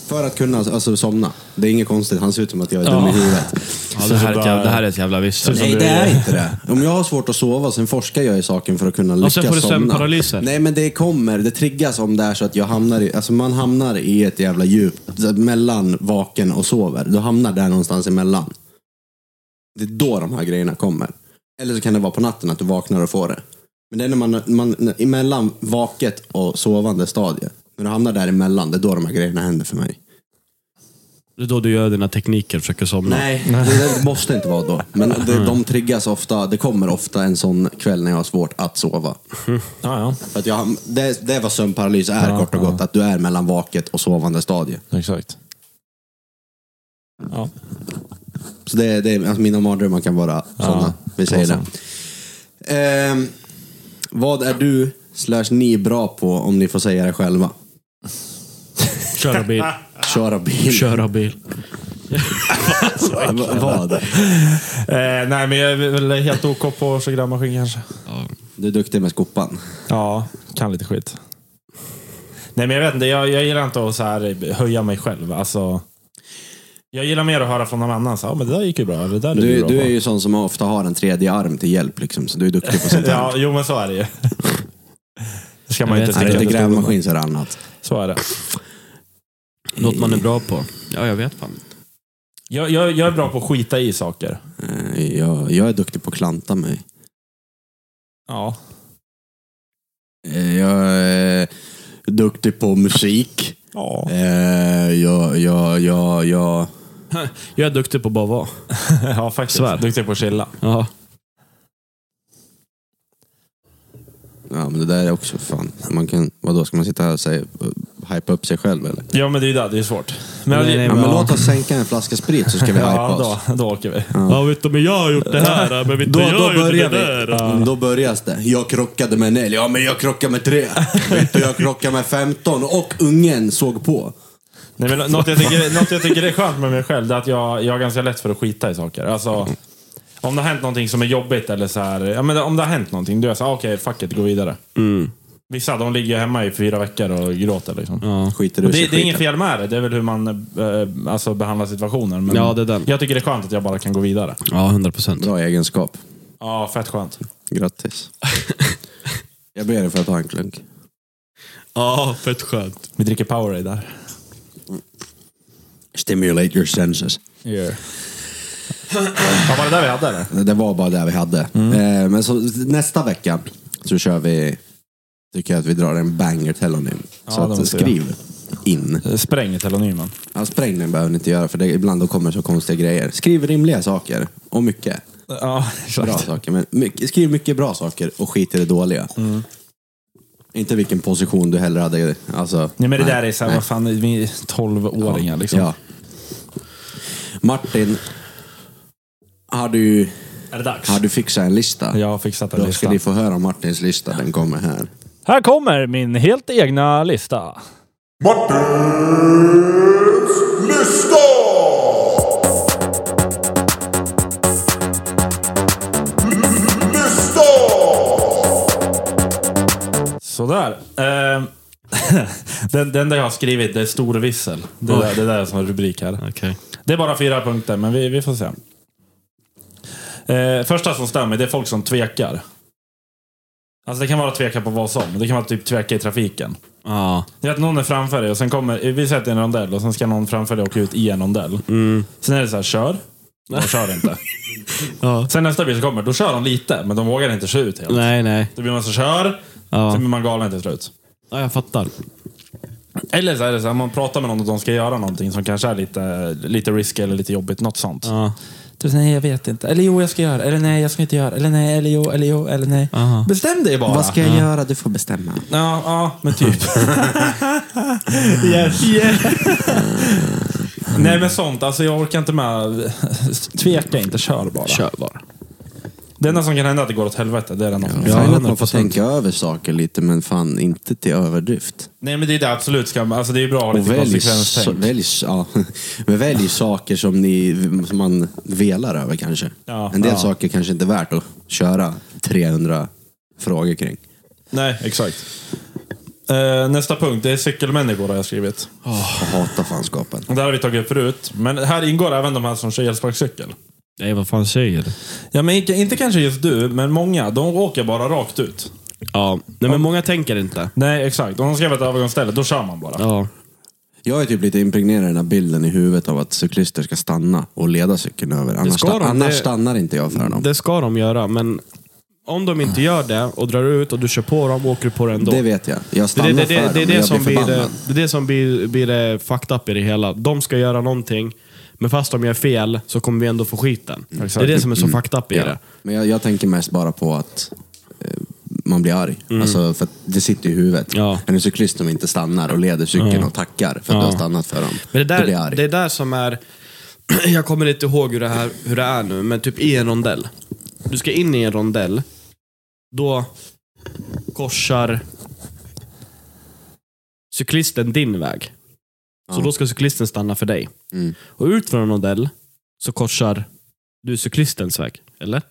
Speaker 3: För att kunna alltså, somna. Det är inget konstigt, han ser ut som att jag är dum i huvudet.
Speaker 4: Ja, det, här är ett jävla, det här är ett jävla vissel.
Speaker 3: Nej, det är inte det. Om jag har svårt att sova, sen forskar jag i saken för att kunna lyckas
Speaker 4: sen får du
Speaker 3: somna.
Speaker 4: sömnparalyser.
Speaker 3: Nej, men det kommer. Det triggas om det är så att jag hamnar i, alltså man hamnar i ett jävla djup så att mellan vaken och sover. Du hamnar där någonstans emellan. Det är då de här grejerna kommer. Eller så kan det vara på natten att du vaknar och får det. Men det är när man, man när- emellan vaket och sovande stadie. När du hamnar däremellan, det är då de här grejerna händer för mig.
Speaker 4: Det är då du gör dina tekniker och försöker somna.
Speaker 3: Nej, det, det måste inte vara då. Men det, de triggas ofta, det kommer ofta en sån kväll när jag har svårt att sova.
Speaker 2: Ja,
Speaker 3: För att jag, det, det är vad sömnparalys är
Speaker 2: Ja,
Speaker 3: kort och
Speaker 2: ja.
Speaker 3: gott, att du är mellan vaket och sovande stadie.
Speaker 2: ja. Exakt. Ja.
Speaker 3: Så det, det är, alltså mina mardrömmar kan vara sådana. Vi säger det.
Speaker 2: vad
Speaker 3: Ehm, vad är du slash ni bra på om ni får säga det själva?
Speaker 4: Köra bil.
Speaker 3: Köra bil.
Speaker 4: Köra bil.
Speaker 3: Va- vad?
Speaker 2: Eh, nej, men jag är väl helt OK på att köra maskin kanske.
Speaker 3: Du är duktig med skopan.
Speaker 2: Ja, kan lite skit. Nej, men jag vet inte. Jag, jag gillar inte att så här, höja mig själv. Alltså, jag gillar mer att höra från någon annan. Så, här, "Ja, men det där gick ju bra. eller Det där är du,
Speaker 3: Du,
Speaker 2: bra
Speaker 3: du är
Speaker 2: på."
Speaker 3: ju sån som ofta har en tredje arm till hjälp, liksom, så du är duktig på sånt här.
Speaker 2: Ja, jo, men så är det ju. Det ska man
Speaker 4: Jag
Speaker 2: ju inte
Speaker 4: vet
Speaker 3: är det inte
Speaker 2: sticka under stol med.
Speaker 3: grävmaskin så är det annat.
Speaker 2: Så är det.
Speaker 4: Något man är bra på. Ja, jag vet fan inte.
Speaker 2: Jag, jag, jag är bra på att skita i saker.
Speaker 3: Eh, Jag, jag är duktig på att klanta mig.
Speaker 2: Ja.
Speaker 3: Eh, Jag är duktig på musik.
Speaker 2: ja.
Speaker 3: Eh, Jag, jag, jag, jag...
Speaker 4: Jag är duktig på att bara vara.
Speaker 2: Ja, faktiskt.
Speaker 4: Svär.
Speaker 2: Duktig på att chilla.
Speaker 4: Ja.
Speaker 3: Ja, men det där är också fan. Man kan, vadå, ska man sitta här och säga, eh, hypa upp sig själv eller?
Speaker 2: Ja, men det är ju det. Det är svårt. Men,
Speaker 4: Nej, nej,
Speaker 3: Ja, men
Speaker 4: Ja.
Speaker 3: låt oss sänka en flaska sprit så ska vi hypa
Speaker 2: ja,
Speaker 3: oss.
Speaker 2: då, då åker vi.
Speaker 4: Ja, vet du, men jag har gjort det här. Men vet
Speaker 3: Då,
Speaker 4: du, jag
Speaker 3: då
Speaker 4: har gjort det
Speaker 3: börjar
Speaker 4: där.
Speaker 3: vi. Mm, Då börjas det. Jag krockade med en älg. Ja, men jag krockade med tre. Vet du, jag krockade med 15 och ungen såg på.
Speaker 2: Nej, men något, jag tycker, något jag tycker är skönt med mig själv det är att jag, jag har ganska lätt för att skita i saker. Alltså, om det har hänt någonting som är jobbigt eller så här, ja, men om det har hänt någonting, då är jag såhär, okej, fuck it, gå vidare. Vissa de ligger hemma i fyra veckor och gråter. Liksom.
Speaker 3: Skiter
Speaker 2: Och
Speaker 3: du
Speaker 2: det, det är inget
Speaker 3: fel.
Speaker 2: fel med det, det är väl hur man eh, alltså, behandlar situationer. Men
Speaker 4: Ja, det är den.
Speaker 2: Jag tycker det är skönt att jag bara kan gå vidare.
Speaker 4: Ja, 100 procent.
Speaker 3: Bra egenskap.
Speaker 2: Ja, fett skönt.
Speaker 3: Grattis. Jag ber dig för att ta en klunk.
Speaker 4: Ja, fett skönt.
Speaker 2: Vi dricker Powerade där.
Speaker 3: Stimulate your senses.
Speaker 2: Ja, var det där vi hade eller?
Speaker 3: Det var bara det vi hade.
Speaker 2: Mm.
Speaker 3: Eh, men så, nästa vecka så kör vi, tycker jag att vi drar en banger till honom. Så
Speaker 2: Ja, det
Speaker 3: att,
Speaker 2: måste
Speaker 3: skriv in.
Speaker 2: Spräng telonymen.
Speaker 3: Ja, sprängning behöver ni inte göra för det, ibland då kommer så konstiga grejer. Skriv rimliga saker och mycket
Speaker 2: Ja, exakt.
Speaker 3: bra saker. Men mycket, skriv mycket bra saker och skit i det dåliga.
Speaker 2: Mm.
Speaker 3: Inte vilken position du hellre hade. Alltså,
Speaker 2: Nej, men det där är
Speaker 3: så
Speaker 2: såhär, vad fan, vi är 12-åringar liksom.
Speaker 3: Ja. Martin, har du,
Speaker 2: Är det dags?
Speaker 3: har du fixat en lista?
Speaker 2: Jag har fixat en
Speaker 3: Då ska
Speaker 2: lista.
Speaker 3: ni få höra Martins lista, den kommer här.
Speaker 2: Här kommer min helt egna lista. Sådär. Ehm, den, den där jag har skrivit, det är stor vissel. Det, där, det där är som en rubrik här.
Speaker 4: Okej.
Speaker 2: Det är bara fyra punkter, men vi, vi får se. Eh, första som stämmer, det är folk som tvekar. Alltså det kan vara tveka på vad som. Det kan vara typ tveka i trafiken.
Speaker 4: Ja.
Speaker 2: Det är att någon är framför dig och sen kommer, vi sätter en rondell och sen ska någon framför dig åka ut i en rondell.
Speaker 4: Mm.
Speaker 2: Sen är det så här, kör. De kör inte.
Speaker 4: Ja.
Speaker 2: Sen nästa bil som kommer, då kör de lite, men de vågar inte köra ut helt.
Speaker 4: Nej, nej.
Speaker 2: Då blir man så kör,
Speaker 4: Ja.
Speaker 2: sen blir man galen till slut.
Speaker 4: Ja, jag fattar.
Speaker 2: Eller så är det så här, man pratar med någon och de ska göra någonting som kanske är lite, lite risky eller lite jobbigt, något sånt.
Speaker 4: Ja.
Speaker 1: Du, nej, jag vet inte. Eller jo, jag ska göra. Eller nej, jag ska inte göra. Eller nej, eller jo, eller jo, eller nej.
Speaker 4: Aha.
Speaker 2: Bestäm dig bara.
Speaker 1: Vad ska jag göra? Du får bestämma.
Speaker 2: Ja, ja, men typ. Nej men sånt, alltså jag orkar inte med. Tveka inte, kör bara.
Speaker 4: Kör bara.
Speaker 2: Det enda som kan hända är att det går åt helvete. Det är det enda som kan
Speaker 3: Ja,
Speaker 2: hända.
Speaker 3: fan, att man får tänka över saker lite, men fan inte till överdrift.
Speaker 2: Nej men det är det absolut ska Alltså det är bra att ha
Speaker 3: Och
Speaker 2: lite
Speaker 3: välj, så,
Speaker 2: konsekvenstänk.
Speaker 3: välj, ja, men välj saker som, ni, som man velar över kanske.
Speaker 2: Ja,
Speaker 3: en del
Speaker 2: ja.
Speaker 3: saker kanske inte är värt att köra 300 frågor kring.
Speaker 2: Nej, exakt. Eh, nästa punkt, det är cykelmänniskor har jag skrivit.
Speaker 3: Jag hatar fanskapen.
Speaker 2: Det här har vi tagit upp förut, men här ingår även de här som kör elsparkcykel.
Speaker 4: Nej, vad fan säger du?
Speaker 2: Ja, men inte, inte kanske just du, men många, de åker bara rakt ut.
Speaker 4: Ja, nej, men många tänker inte.
Speaker 2: Nej, exakt. Om de ska vara ett övergångsställe, då kör man bara.
Speaker 4: Ja.
Speaker 3: Jag är typ lite impregnerad i den här bilden i huvudet av att cyklister ska stanna och leda cykeln över. Annars,
Speaker 4: ska de.
Speaker 3: annars
Speaker 4: Det-
Speaker 3: stannar inte jag för dem. Det,
Speaker 4: Det ska de göra, men om de inte gör det och drar ut och du kör på dem, åker du på det ändå.
Speaker 3: vet jag. Jag
Speaker 4: Det
Speaker 3: stannar
Speaker 4: är det, det,
Speaker 3: för
Speaker 4: det,
Speaker 3: dem,
Speaker 4: det, är
Speaker 3: men
Speaker 4: det
Speaker 3: jag
Speaker 4: som blir,
Speaker 3: förbannad.
Speaker 4: det, det är det som blir, blir det fucked up i det hela. De ska göra någonting, men fast de gör fel så kommer vi ändå få skiten. Det är det som är så fucked up i
Speaker 3: Mm. Ja.
Speaker 4: det.
Speaker 3: Men jag, jag tänker mest bara på att eh, man blir arg. Alltså, för att det sitter i huvudet.
Speaker 4: Mm. Ja.
Speaker 3: En cyklist som inte stannar och leder cykeln och tackar för att du har stannat för dem.
Speaker 4: Men det
Speaker 3: Då blir jag
Speaker 4: där,
Speaker 3: arg.
Speaker 4: det är där som är... Jag kommer inte ihåg hur det, här, hur det är nu, men typ i en rondell. Du ska in i en rondell. Då korsar cyklisten din väg. Så då ska cyklisten stanna för dig.
Speaker 3: Mm.
Speaker 4: Och ut från en rondell så korsar du cyklistens väg. Eller?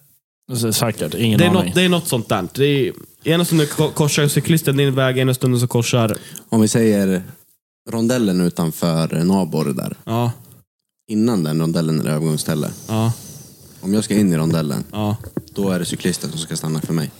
Speaker 2: Säkert, ingen
Speaker 4: Det är, något, det är något sånt där. Det är, ena stunden ko- korsar cyklisten din väg, ena stunden så korsar...
Speaker 3: Om vi säger rondellen utanför Nabor där.
Speaker 4: Ja,
Speaker 3: Innan den rondellen är det övergångsställe.
Speaker 4: ja,
Speaker 3: Om jag ska in i rondellen,
Speaker 4: ja.
Speaker 3: då är det cyklisten som ska stanna för mig.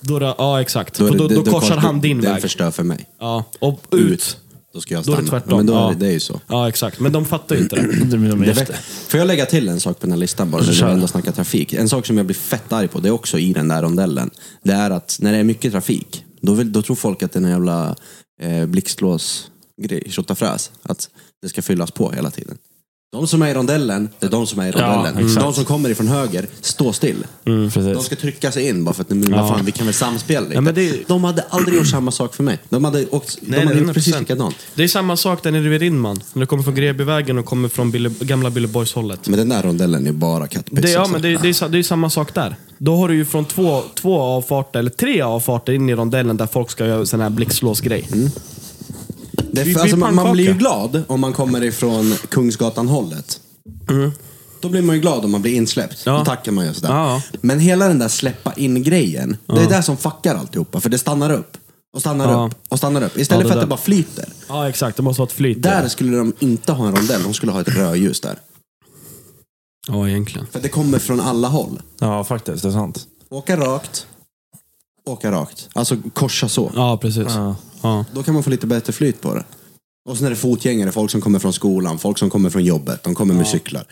Speaker 4: Då, är det- ja, exakt.
Speaker 3: är
Speaker 4: Då,
Speaker 3: det-
Speaker 4: då, då,
Speaker 3: det-
Speaker 4: korsar han din
Speaker 3: den
Speaker 4: väg.
Speaker 3: förstör för mig.
Speaker 4: Ja, och ut.
Speaker 3: Ut. Då ska jag
Speaker 4: Då är
Speaker 3: stanna.
Speaker 4: det tvärtom,
Speaker 3: Men då är
Speaker 4: ja.
Speaker 3: det, det är ju så.
Speaker 4: Ja, exakt. Men de fattar ju inte det.
Speaker 3: Det är fett. Får jag lägga till en sak på den här listan bara, när vi ändå snackar trafik? En sak som jag blir fett arg på, det är också i den där rondellen. Det är att när det är mycket trafik, då, vill, då tror folk att det är en jävla eh, blixtlåsgrej, tjottafräs. Att det ska fyllas på hela tiden. De som är i rondellen, det är de som är i rondellen. de som kommer ifrån höger, stå still.
Speaker 4: Mm.
Speaker 3: De ska trycka sig in bara för att, men vad fan, vi kan väl samspela lite.
Speaker 4: Ja, men det-
Speaker 3: De hade aldrig gjort samma sak för mig. De hade, åkt,
Speaker 4: Nej,
Speaker 3: de hade gjort
Speaker 4: 100%.
Speaker 3: precis likadant.
Speaker 4: Det är samma sak där nere vid Rindman. När du kommer från Grebyvägen och kommer från Bille, gamla Billeborgshållet.
Speaker 3: Men den där rondellen är bara kattpiss.
Speaker 4: Det, ja,
Speaker 3: alltså.
Speaker 4: men det, det, är, sa- det är samma sak där. Då har du ju från två, två avfarter, eller tre avfarter in i rondellen där folk ska göra sån här blixtlåsgrej.
Speaker 3: Mm. Det
Speaker 4: Vi-
Speaker 3: är,
Speaker 4: vi
Speaker 3: alltså, man,
Speaker 4: pannkaka.
Speaker 3: man blir ju glad om man kommer ifrån Kungsgatan-hållet. Då blir man ju glad om man blir insläppt.
Speaker 4: Mm. Ja.
Speaker 3: Då tackar man ju och sådär.
Speaker 4: Ja.
Speaker 3: Men hela den där släppa in-grejen, det är det som fuckar alltihopa. För det stannar upp. Och stannar
Speaker 4: Ja.
Speaker 3: upp. Och stannar upp. Istället
Speaker 4: Ja, det
Speaker 3: för att
Speaker 4: där.
Speaker 3: det bara flyter.
Speaker 4: Ja, exakt. Det måste vara ett flyt. i
Speaker 3: Där
Speaker 4: det.
Speaker 3: skulle de inte ha en rondell. De skulle ha ett rödljus där.
Speaker 4: Ja, egentligen.
Speaker 3: För det kommer från alla håll.
Speaker 2: Ja, faktiskt. Det är sant.
Speaker 3: Åka rakt. Åka rakt. Alltså korsa så.
Speaker 4: Ja, precis. Ja.
Speaker 2: Ja.
Speaker 3: Då kan man få lite bättre flyt på det. Och sen är det fotgängare, folk som kommer från skolan, folk som kommer från jobbet. De kommer med cyklar.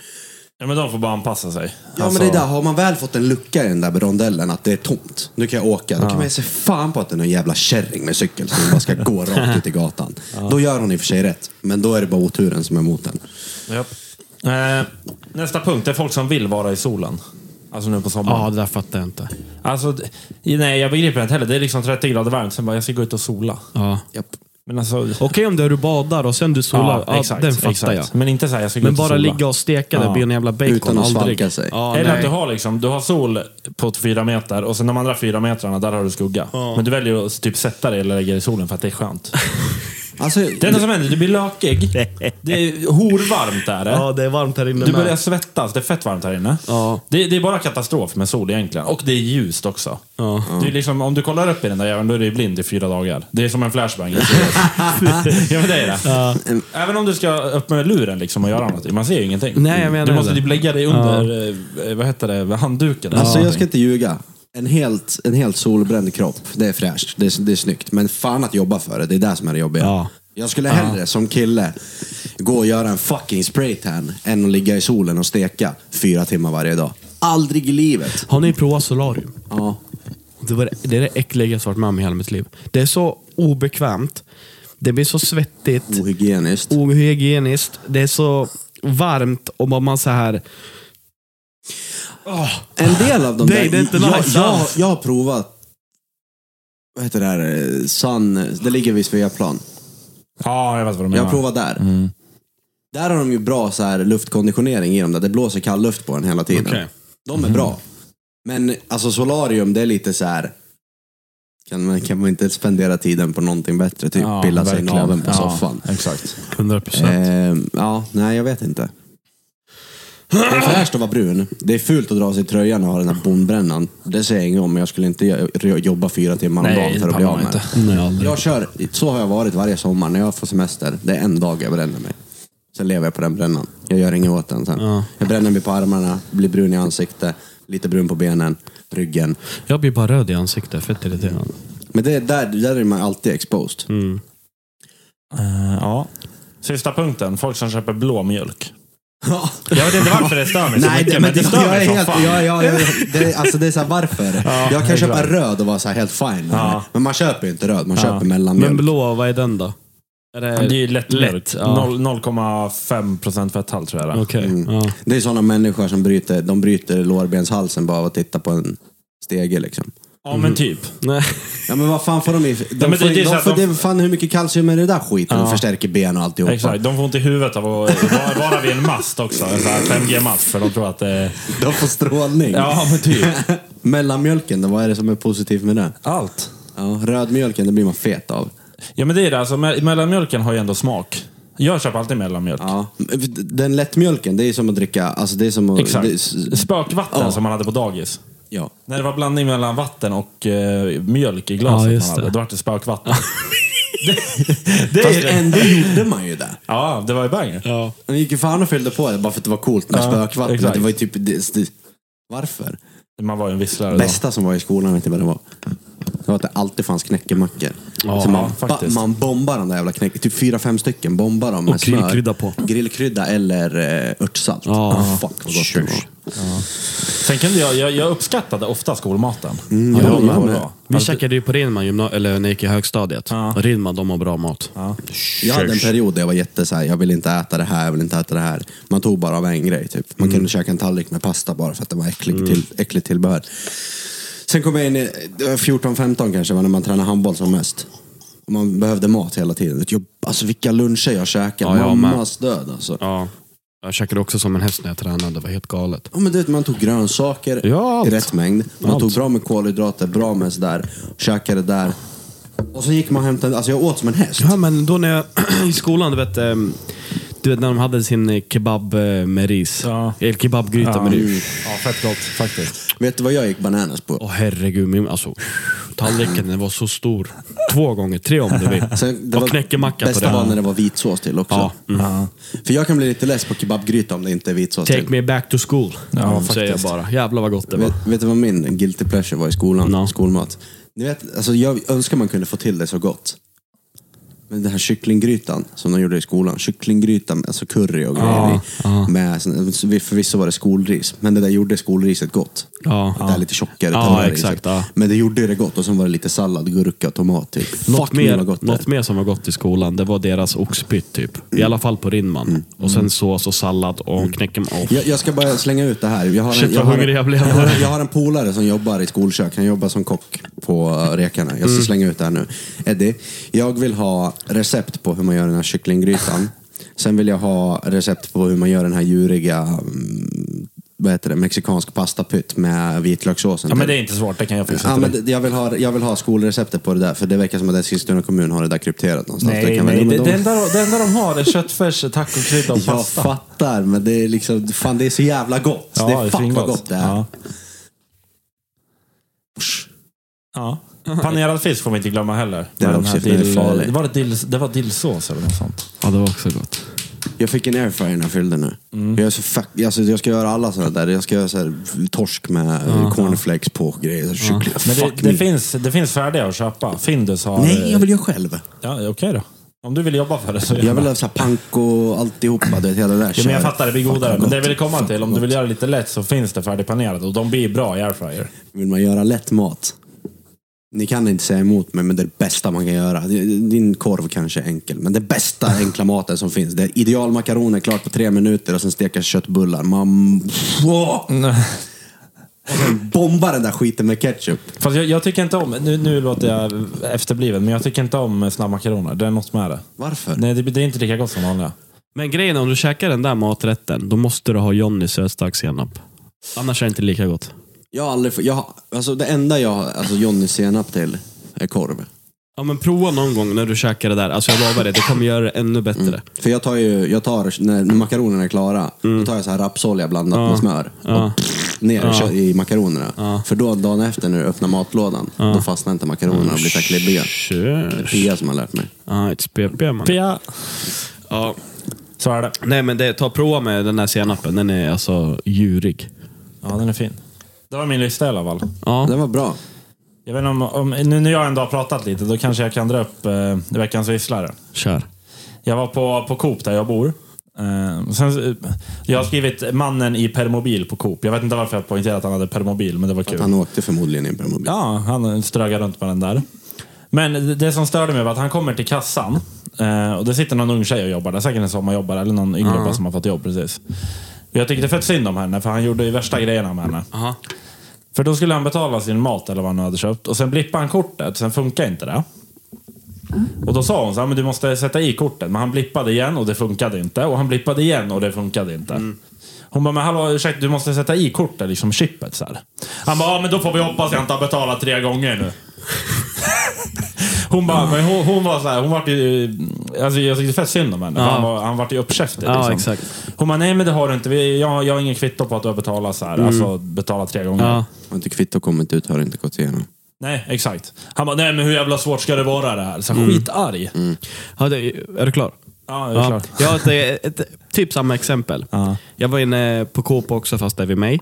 Speaker 2: Ja, men de får bara anpassa sig. Alltså,
Speaker 3: Ja men
Speaker 4: Alltså-
Speaker 3: det där, har man väl fått en lucka i den där rondellen att det är tomt, nu kan jag åka. Då kan man ju se fan på att det är någon jävla kärring med cykel som bara ska gå rakt ut i gatan. Då gör hon i och för sig rätt, men då är det bara oturen som är mot den.
Speaker 2: Japp. Eh, nästa punkt är folk som vill vara i solen. Alltså nu på sommaren.
Speaker 4: det där fattar jag inte.
Speaker 2: Alltså, d- nej, jag begriper inte heller. Det är liksom 30 grader varmt, sen bara jag ska gå ut och sola.
Speaker 4: Ja.
Speaker 3: Japp.
Speaker 2: Men alltså...
Speaker 4: Okej om det är du badar och sen du solar. Ja, den fattar jag.
Speaker 2: Men inte så här, jag ska gå
Speaker 4: Men
Speaker 2: ut och
Speaker 4: bara
Speaker 2: sola.
Speaker 4: ligga och steka det
Speaker 2: Ja.
Speaker 4: blir en jävla bacon.
Speaker 3: Utan att
Speaker 4: aldrig.
Speaker 3: svalka sig.
Speaker 4: Ja,
Speaker 2: Eller
Speaker 4: nej.
Speaker 2: att du har, liksom, du har sol på fyra meter och sen de andra fyra metrarna, där har du skugga. Men du väljer att typ sätta dig eller lägga dig i solen för att det är skönt.
Speaker 3: Alltså,
Speaker 2: Det enda som händer, du blir lökig. Det är horvarmt där.
Speaker 4: Ja, det är varmt här inne
Speaker 2: Du
Speaker 4: med.
Speaker 2: börjar svettas, det är fett varmt här inne.
Speaker 4: Ja.
Speaker 2: Det, det är bara katastrof med sol egentligen. Och det är ljust också.
Speaker 4: Ja.
Speaker 2: Det är liksom, om du kollar upp i den där jäveln, då är du blind i fyra dagar. Det är som en flashbang. ja, men det är det. Även om du ska upp med luren liksom och göra något, man ser ju ingenting.
Speaker 4: Nej, jag menar
Speaker 2: du måste
Speaker 4: det.
Speaker 2: typ lägga dig under, eh, vad heter det, handduken. eller
Speaker 3: alltså jag
Speaker 2: någonting.
Speaker 3: ska inte ljuga. En helt, en helt solbränd kropp, det är fräscht, det är, det är snyggt. Men fan att jobba för det, det är det som är det jobbiga.
Speaker 4: Ja.
Speaker 3: Jag skulle hellre som kille gå och göra en fucking spraytan än att ligga i solen och steka fyra timmar varje dag. Aldrig i livet.
Speaker 4: Har ni provat solarium?
Speaker 3: Ja.
Speaker 4: Det, var det, det är det äckligaste jag varit med om i hela mitt liv. Det är så obekvämt. Det blir så svettigt,
Speaker 3: Ohygieniskt.
Speaker 4: ohygieniskt. Det är så varmt och man, man så här...
Speaker 3: En del av de
Speaker 4: Nej,
Speaker 3: där...
Speaker 4: det är inte
Speaker 3: jag,
Speaker 4: nice
Speaker 3: jag,
Speaker 4: alls.
Speaker 3: jag har provat... Vad heter det här? eh, Sun... Det ligger vid Sveaplan.
Speaker 2: Ja, jag vet vad du menar.
Speaker 3: Jag har provat där.
Speaker 4: Mm.
Speaker 3: Där har de ju bra så här luftkonditionering i dem. Där. Det blåser kall luft på den hela tiden.
Speaker 4: Okej. Mm.
Speaker 3: De är bra. Men alltså solarium, det är lite så här... Kan man, kan man inte spendera tiden på någonting bättre? Typ
Speaker 2: Ja,
Speaker 3: pilla sig i
Speaker 2: verkligen.
Speaker 3: naveln på
Speaker 2: Ja,
Speaker 3: soffan.
Speaker 2: Exakt.
Speaker 4: 100 procent.
Speaker 3: Ehm, ja, nej jag vet inte. Det är fräscht att vara brun. Det är fult att dra sig i tröjan och ha den här bondbrännan. Det säger jag inget om, men jag skulle inte jo- jobba fyra timmar om
Speaker 1: Nej,
Speaker 3: dagen för
Speaker 1: det
Speaker 3: att bli
Speaker 1: pallar
Speaker 3: av med
Speaker 1: man
Speaker 3: den. Jag kör, så har jag varit varje sommar när jag får semester. Det är en dag jag bränner mig. Sen lever jag på den brännan. Jag gör inget åt den sen. Jag bränner mig på armarna, blir brun i ansiktet, lite brun på benen, ryggen.
Speaker 4: Jag blir bara röd i ansiktet, fett irriterande.
Speaker 3: Men det, är där, där är man alltid exposed.
Speaker 4: Mm.
Speaker 2: Eh, ja. Sista punkten, folk som köper blå mjölk.
Speaker 3: Ja.
Speaker 2: Jag vet inte varför det stör mig så
Speaker 3: Nej,
Speaker 2: mycket,
Speaker 3: det,
Speaker 2: men,
Speaker 3: men
Speaker 2: det
Speaker 3: det,
Speaker 2: stör
Speaker 3: jag
Speaker 2: mig
Speaker 3: är
Speaker 2: som
Speaker 3: helt...
Speaker 2: fan.
Speaker 3: Ja, ja, ja, det, är- alltså det är så här, varför? jag kan
Speaker 2: helt
Speaker 3: köpa
Speaker 2: klart.
Speaker 3: röd och vara så här helt fine. med
Speaker 2: Ja.
Speaker 3: det. Men man köper ju inte röd, man köper
Speaker 4: Men
Speaker 3: mellanmjölk.
Speaker 4: blå, vad är den då? Är det...
Speaker 2: Det är ju lätt,
Speaker 4: Lätt,
Speaker 2: Eh, lätt
Speaker 4: ja.
Speaker 2: 0,5 procent fetthalt tror jag det är.
Speaker 4: Okej.
Speaker 3: Mm.
Speaker 4: Ja.
Speaker 3: Det är sådana människor som bryter, de bryter lårbenshalsen bara av att titta på en stege liksom.
Speaker 2: Ja men typ.
Speaker 4: Nej.
Speaker 3: Ja men vad fan får de i... De
Speaker 2: men det-
Speaker 3: får,
Speaker 2: det är
Speaker 3: de
Speaker 2: så att
Speaker 3: får,
Speaker 2: de-
Speaker 3: det är fan hur mycket kalcium är det där skiten? De förstärker ben och alltihopa.
Speaker 2: Exakt, de får ont i huvudet av att vara- vara vid en mast också. En sån här 5G-mast för de tror att det är...
Speaker 3: De får strålning.
Speaker 2: Ja men typ.
Speaker 3: Mellanmjölken då, vad är det som är positivt med den?
Speaker 2: Allt.
Speaker 3: Ja, rödmjölken, det blir man fet av.
Speaker 2: Ja men det är det, alltså me- mellanmjölken har ju ändå smak. Jag köper alltid mellanmjölk.
Speaker 3: Ja. Den lättmjölken, det är som att dricka, alltså det är som att...
Speaker 2: Exakt.
Speaker 3: det är-
Speaker 2: Spökvatten
Speaker 3: Ja.
Speaker 2: som man hade på dagis.
Speaker 3: ja.
Speaker 2: När det var blandning mellan vatten och eh, mjölk i glaset
Speaker 4: Ja,
Speaker 2: man
Speaker 4: just
Speaker 2: hade,
Speaker 4: det.
Speaker 2: då vart det spökvatten. det, det är
Speaker 3: Fast
Speaker 2: det.
Speaker 3: ändå gjorde man ju det.
Speaker 2: Ja, det var ju banger.
Speaker 4: Ja.
Speaker 3: Man gick ju fan och fyllde på det bara för att det var coolt med
Speaker 2: Ja,
Speaker 3: spökvatten.
Speaker 2: exakt.
Speaker 3: Det var ju typ... Det, det, varför?
Speaker 2: Man var ju en visslare då.
Speaker 3: bästa som var i skolan, vet ni vad det var? Det var att det alltid fanns knäckemackor.
Speaker 4: Ja,
Speaker 3: så man,
Speaker 2: faktiskt.
Speaker 3: man bombar de där jävla knäck... Typ fyra, fem stycken bombar dem med
Speaker 4: Och grillkrydda
Speaker 3: smör.
Speaker 4: på.
Speaker 3: Grillkrydda eller eh, örtsalt.
Speaker 4: Ja.
Speaker 3: Ah, fuck vad gott det var.
Speaker 2: Sen kunde jag, jag, jag uppskattade ofta skolmaten.
Speaker 3: ja,
Speaker 2: jag
Speaker 3: jag med.
Speaker 4: Vi checkade ju på Rinman gymna- eller när jag gick i högstadiet. Rinman, de har bra mat.
Speaker 3: Jag hade en period där jag var jätte så här, jag vill inte äta det här, jag vill inte äta det här. Man tog bara av en grej typ.
Speaker 4: Mm.
Speaker 3: Man kunde käka en tallrik med pasta bara för att det var äcklig till, äckligt tillbehör. Sen kom jag in i, det var 14-15 kanske var när man tränade handboll som mest. Och man behövde mat hela tiden. Jag, alltså vilka luncher jag käkade.
Speaker 4: Ja, jag med.
Speaker 3: Mammas död alltså.
Speaker 4: Ja. Jag käkade också som en häst när jag tränade. Det var helt galet.
Speaker 3: Ja, men du vet, man tog grönsaker
Speaker 4: Ja, allt.
Speaker 3: i rätt mängd. Man
Speaker 4: Allt.
Speaker 3: tog bra med kolhydrater, bra med sådär. Käkade där. Och sen gick man och hämtade, alltså jag åt som en häst.
Speaker 4: Ja, men då när jag i skolan, du vet, ehm, du vet när de hade sin eh, kebab eh, med ris.
Speaker 2: Ja.
Speaker 4: Eller kebabgryta med
Speaker 2: Mm.
Speaker 4: ris.
Speaker 2: Ja, fett gott faktiskt.
Speaker 3: Vet du vad jag gick bananas på?
Speaker 4: Åh herregud, min, alltså, tallriken den var så stor. Två gånger, tre om du vill.
Speaker 3: Sen,
Speaker 4: och knäckemacka på
Speaker 3: Alltså, bästa
Speaker 4: den.
Speaker 3: var när det var vitsås till också.
Speaker 4: Ja. mm.
Speaker 3: För jag kan bli lite less på kebabgryta om det inte är vitsås
Speaker 4: Take
Speaker 3: till.
Speaker 4: me back to school,
Speaker 2: Ja,
Speaker 4: säger jag
Speaker 2: faktiskt.
Speaker 4: bara. Jävlar vad gott det var.
Speaker 3: Vet, vet du vad min guilty pleasure var i skolan?
Speaker 4: No.
Speaker 3: Skolmat. Ni vet, alltså jag önskar man kunde få till det så gott. Men den här kycklinggrytan som de gjorde i skolan. Kycklinggryta med alltså curry och grejer i. Med, sån- förvisso var det skolris, men det där gjorde skolriset gott.
Speaker 4: Ja.
Speaker 3: Det där lite tjockare
Speaker 4: Ja,
Speaker 3: tallriksriset.
Speaker 4: exakt, ja.
Speaker 3: Men det gjorde ju det gott och sen var det lite sallad, gurka, tomat. Typ.
Speaker 4: Något,
Speaker 3: Fuck, men
Speaker 4: mer,
Speaker 3: vad gott det är.
Speaker 4: något mer som var gott i skolan, det var deras oxpytt typ. I alla fall på Rinman.
Speaker 3: Mm.
Speaker 4: Och sen sås och sallad och knäckemacka. Oh.
Speaker 3: Jag, jag ska bara slänga ut det här. Jag har
Speaker 4: Shit,
Speaker 3: jag
Speaker 4: vad
Speaker 3: har,
Speaker 4: hungrig jag blev.
Speaker 3: har, jag har en polare som jobbar i skolkök. Han jobbar som kock på eh, Rekarna. Jag ska
Speaker 2: Mm.
Speaker 3: slänga ut det här nu. Eddie, jag vill ha recept på hur man gör den här kycklinggrytan. Sen vill jag ha recept på hur man gör den här djuriga mm, vad heter det, mexikansk pastapytt med vitlökssåsen.
Speaker 2: Ja, men
Speaker 3: till.
Speaker 2: det är inte svårt, det kan jag fixa
Speaker 3: Ja,
Speaker 2: till
Speaker 3: men
Speaker 2: dig.
Speaker 3: det- jag, vill ha, jag vill ha skolreceptet på det där, för det verkar som att Eskilstuna kommun har det där krypterat någonstans. det
Speaker 2: Nej,
Speaker 3: kan väl-
Speaker 2: nej.
Speaker 3: men
Speaker 2: Det,
Speaker 3: de-
Speaker 2: det, enda, de- det enda de har är köttfärs, tacokrydda och
Speaker 3: jag
Speaker 2: pasta.
Speaker 3: fattar, men det är liksom, fan det är så jävla gott.
Speaker 2: Ja,
Speaker 3: det är fuck vad
Speaker 2: svingott.
Speaker 3: gott det är.
Speaker 2: Ja. Ja. Panerad fisk får vi inte glömma heller.
Speaker 3: Det är
Speaker 2: Med den
Speaker 3: också-
Speaker 2: här
Speaker 3: det är farligt.
Speaker 2: det var, det dill, det var dillsås eller något sånt.
Speaker 4: Ja, det var också gott.
Speaker 3: Jag fick en airfryer när jag fyllde nu.
Speaker 2: Mm.
Speaker 3: Jag, är så fuck, alltså, jag ska göra alla sådana där. Jag ska göra så här, torsk med eh, cornflakes på och grejer. Kyckling.
Speaker 2: Men
Speaker 3: Fuck
Speaker 2: det, det,
Speaker 3: me.
Speaker 2: finns, det finns färdiga att köpa. Findus har...
Speaker 3: Nej, jag vill göra själv.
Speaker 2: Ja, okej då. Om du vill jobba för det så gör
Speaker 3: Jag vill
Speaker 2: det.
Speaker 3: ha så här panko och alltihopa. Du vet, hela det där
Speaker 2: Jo, men
Speaker 3: köret.
Speaker 2: jag fattar, det blir
Speaker 3: Fuck,
Speaker 2: godare.
Speaker 3: vad
Speaker 2: Men
Speaker 3: gott.
Speaker 2: det jag ville komma
Speaker 3: Fuck,
Speaker 2: till, om
Speaker 3: vad
Speaker 2: du vill
Speaker 3: gott.
Speaker 2: göra det lite lätt så finns det färdigpanerade och de blir bra i airfryer.
Speaker 3: Vill man göra lätt mat. Ni kan inte säga emot mig, men det är det bästa man kan göra. Din korv kanske är enkel, men det bästa enkla maten som finns. Det är idealmakaroner klart på tre minuter och sen steka köttbullar. Man... Wow! Och sen bomba den där skiten med ketchup.
Speaker 2: Fast jag, jag tycker inte om, nu, nu låter jag efterbliven, men jag tycker inte om snabbmakaroner. Det är något med det.
Speaker 3: Varför?
Speaker 2: Nej, det, det är inte lika gott som vanliga.
Speaker 4: Men grejen är, om du käkar den där maträtten, då måste du ha Johnny sötstark senap. Annars är det inte lika gott.
Speaker 3: Jag har aldrig, jag, har- alltså det enda jag, alltså Johnny senap till är korv.
Speaker 4: Ja men prova någon gång när du käkar det där. Alltså jag lovar dig, det kommer göra det ännu bättre.
Speaker 2: Mm,
Speaker 3: För jag tar ju, jag tar, när när makaronerna är klara, då tar jag så här rapsolja blandat med smör.
Speaker 4: Ja.
Speaker 3: Och pff, ner kö- i makaronerna. För då dagen efter när du öppnar matlådan, då fastnar inte makaronerna och blir så här klibbiga. Det är
Speaker 4: Tjus.
Speaker 3: Pia som har lärt mig.
Speaker 4: Ja, it's PP man.
Speaker 1: Pia.
Speaker 4: Ja.
Speaker 2: Så är det.
Speaker 4: Nej men det, ta prova med den här senapen. Den är alltså djurig.
Speaker 2: Ja, den är fin. Det var min lista i alla fall.
Speaker 3: Det
Speaker 4: Ja.
Speaker 3: var bra.
Speaker 2: Jag vet inte om, om, nu när jag ändå har pratat lite, då kanske jag kan dra upp eh, veckans visslare.
Speaker 4: Kör.
Speaker 2: Mm. Jag var på, på Coop där jag bor. Eh, sen, eh, jag har skrivit mannen i permobil på Coop. Jag vet inte varför jag poängterade att han hade permobil, men det var kul.
Speaker 3: Han åkte förmodligen in på en mobil.
Speaker 2: Ja, han strögar runt med den där. Men det som störde mig var att han kommer till kassan eh, och det sitter någon ung tjej och jobbar där. Säkert en sommarjobbare eller någon yngre bara som har fått jobb precis. Och jag tyckte fett synd om henne för han gjorde ju värsta grejerna med henne.
Speaker 4: Aha.
Speaker 2: För då skulle han betala sin mat eller vad han nu hade köpt och sen blippade han kortet, sen funkar inte det. Och då sa hon så här, men du måste sätta i kortet. Men han blippade igen och det funkade inte. Och han blippade igen och det funkade inte.
Speaker 4: Mm.
Speaker 2: Hon bara, men hallå ursäkta, du måste sätta i kortet, liksom chippet så här. Han bara, ja men då får vi hoppas jag inte har betalat tre gånger nu. Hon bara, men hon, hon var så här, hon vart ju... Alltså jag tyckte fett synd om henne. för
Speaker 4: Ja.
Speaker 2: Han, var, han vart ju uppkäftig.
Speaker 4: Ja,
Speaker 2: liksom.
Speaker 4: exakt.
Speaker 2: Hon bara, nej men det har du inte. Vi, jag, jag har ingen kvitto på att du har betalat så här. Alltså betalat tre gånger.
Speaker 4: Mm. Ja.
Speaker 3: Har inte kvitto kommit ut har det inte gått igenom.
Speaker 2: Nej, exakt. Han bara, nej men hur jävla svårt ska det vara det här? Så
Speaker 4: Mm.
Speaker 2: skitarg.
Speaker 4: Ja, det, är du klar?
Speaker 2: Ja, det är klart.
Speaker 4: Jag har ett, ett, typ samma exempel.
Speaker 2: Ja.
Speaker 4: Jag var inne på Coop också, fast där vid mig.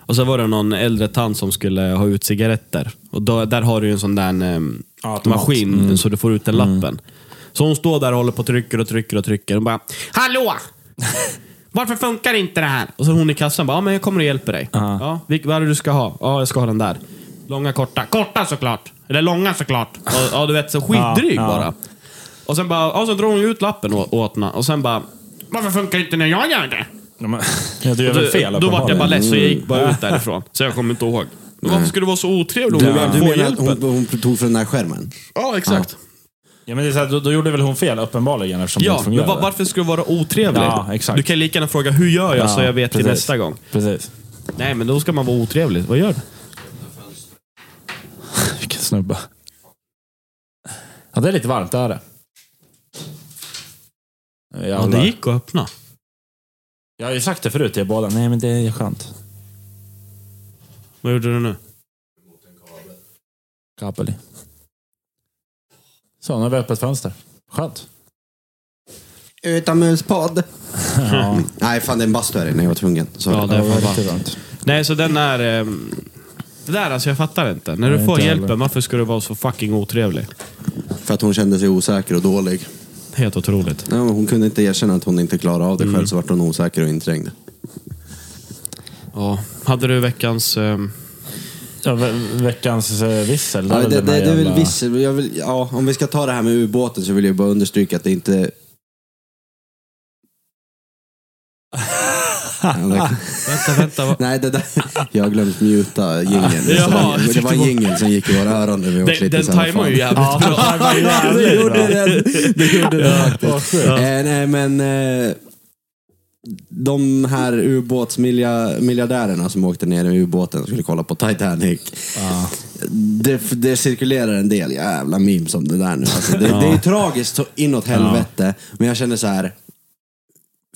Speaker 4: Och så var det någon äldre tant som skulle ha ut cigaretter. Och då, där har du ju en sån där em,
Speaker 2: Ja, automat.
Speaker 4: maskin, så du får ut den lappen. Så hon står där och håller på och trycker och trycker och trycker. Och bara, hallå! Varför funkar inte det här? Och så hon i kassan bara, ja men jag kommer och hjälper dig. Ja, vilk, vad är det du ska ha? Ja, jag ska ha den där. Långa, korta. Korta såklart! Eller långa såklart. Och, ja, du vet, så skitdryg
Speaker 2: Ja, ja.
Speaker 4: bara. Och sen bara, ja, så drar hon ut lappen å- åt henne och sen bara, varför funkar det inte när jag gör det?
Speaker 2: Ja, men, ja, du gör väl fel
Speaker 4: då vart jag bara
Speaker 2: uppenbarligen.
Speaker 4: less och jag gick bara ut därifrån. Så jag kommer inte ihåg. Men varför skulle du vara så otrevlig om
Speaker 3: Du,
Speaker 4: du väl
Speaker 3: du
Speaker 4: får
Speaker 3: menar att hon,
Speaker 4: hjälpen?
Speaker 3: hon tog från den här skärmen?
Speaker 4: Ja, exakt.
Speaker 2: Ja, men det är så här, då, då gjorde väl hon fel uppenbarligen eftersom det
Speaker 4: Ja,
Speaker 2: inte
Speaker 4: men
Speaker 2: fungerade.
Speaker 4: va- varför skulle du vara otrevlig?
Speaker 2: Ja, exakt.
Speaker 4: Du kan lika gärna fråga, hur gör jag så jag vet till
Speaker 2: precis.
Speaker 4: nästa gång?
Speaker 2: Precis.
Speaker 4: Nej, men då ska man vara otrevlig. Vad gör du?
Speaker 2: Vilken snubbe. Ja, det är lite varmt, det är det.
Speaker 4: Ja,
Speaker 2: Jävlar.
Speaker 4: det gick att öppna.
Speaker 2: Jag har ju sagt det förut till er båda. Nej, men det är skönt.
Speaker 4: Vad gjorde du nu?
Speaker 2: Kapeli. Så, nu har vi öppet fönster. Skönt.
Speaker 3: Utomhuspodd!
Speaker 2: Ja,
Speaker 3: Nej, fan det är en bastu här inne. Jag var tvungen. Sorry.
Speaker 4: Ja, det
Speaker 2: det var
Speaker 4: var bara...
Speaker 2: riktigt varmt.
Speaker 4: Nej, så den är... ehm, Det där alltså, jag fattar inte. När du
Speaker 2: Nej,
Speaker 4: får
Speaker 2: inte
Speaker 4: hjälpen,
Speaker 2: heller.
Speaker 4: varför ska du vara så fucking otrevlig?
Speaker 3: För att hon kände sig osäker och dålig.
Speaker 4: Helt otroligt.
Speaker 3: Nej, men hon kunde inte erkänna att hon inte klarade av det
Speaker 2: Mm.
Speaker 3: själv, så vart hon osäker och inträngd.
Speaker 4: Ja. Hade du veckans... ehm,
Speaker 2: Ja, ve- veckans eh, vissel.
Speaker 3: Ja,
Speaker 2: är
Speaker 3: det,
Speaker 2: väl
Speaker 3: det,
Speaker 2: den här
Speaker 3: det är väl
Speaker 2: jävla-
Speaker 3: viss, jag vill, ja, om vi ska ta det här med ubåten så vill jag bara understryka att det inte... Ja, det-
Speaker 4: Vänta, vänta. Vad...
Speaker 3: Nej, det där, jag har glömt muta jingeln.
Speaker 4: Jaha,
Speaker 3: det var jingeln som gick i våra öron när vi var
Speaker 4: Den,
Speaker 3: klippta
Speaker 4: den
Speaker 3: så här,
Speaker 4: tajmar
Speaker 3: fan.
Speaker 4: ju jävligt bra.
Speaker 2: Ja, vad jävligt
Speaker 3: Det gjorde
Speaker 2: bra.
Speaker 3: den. Det gjorde den faktiskt.
Speaker 2: Ja.
Speaker 3: Eh, nej, men... Eh, de här ubåtsmiljardärerna som åkte ner i ubåten och skulle kolla på Titanic. Det, det cirkulerar en del jävla memes om det där nu. Alltså, det, det är tragiskt så inåt helvete, men jag känner så här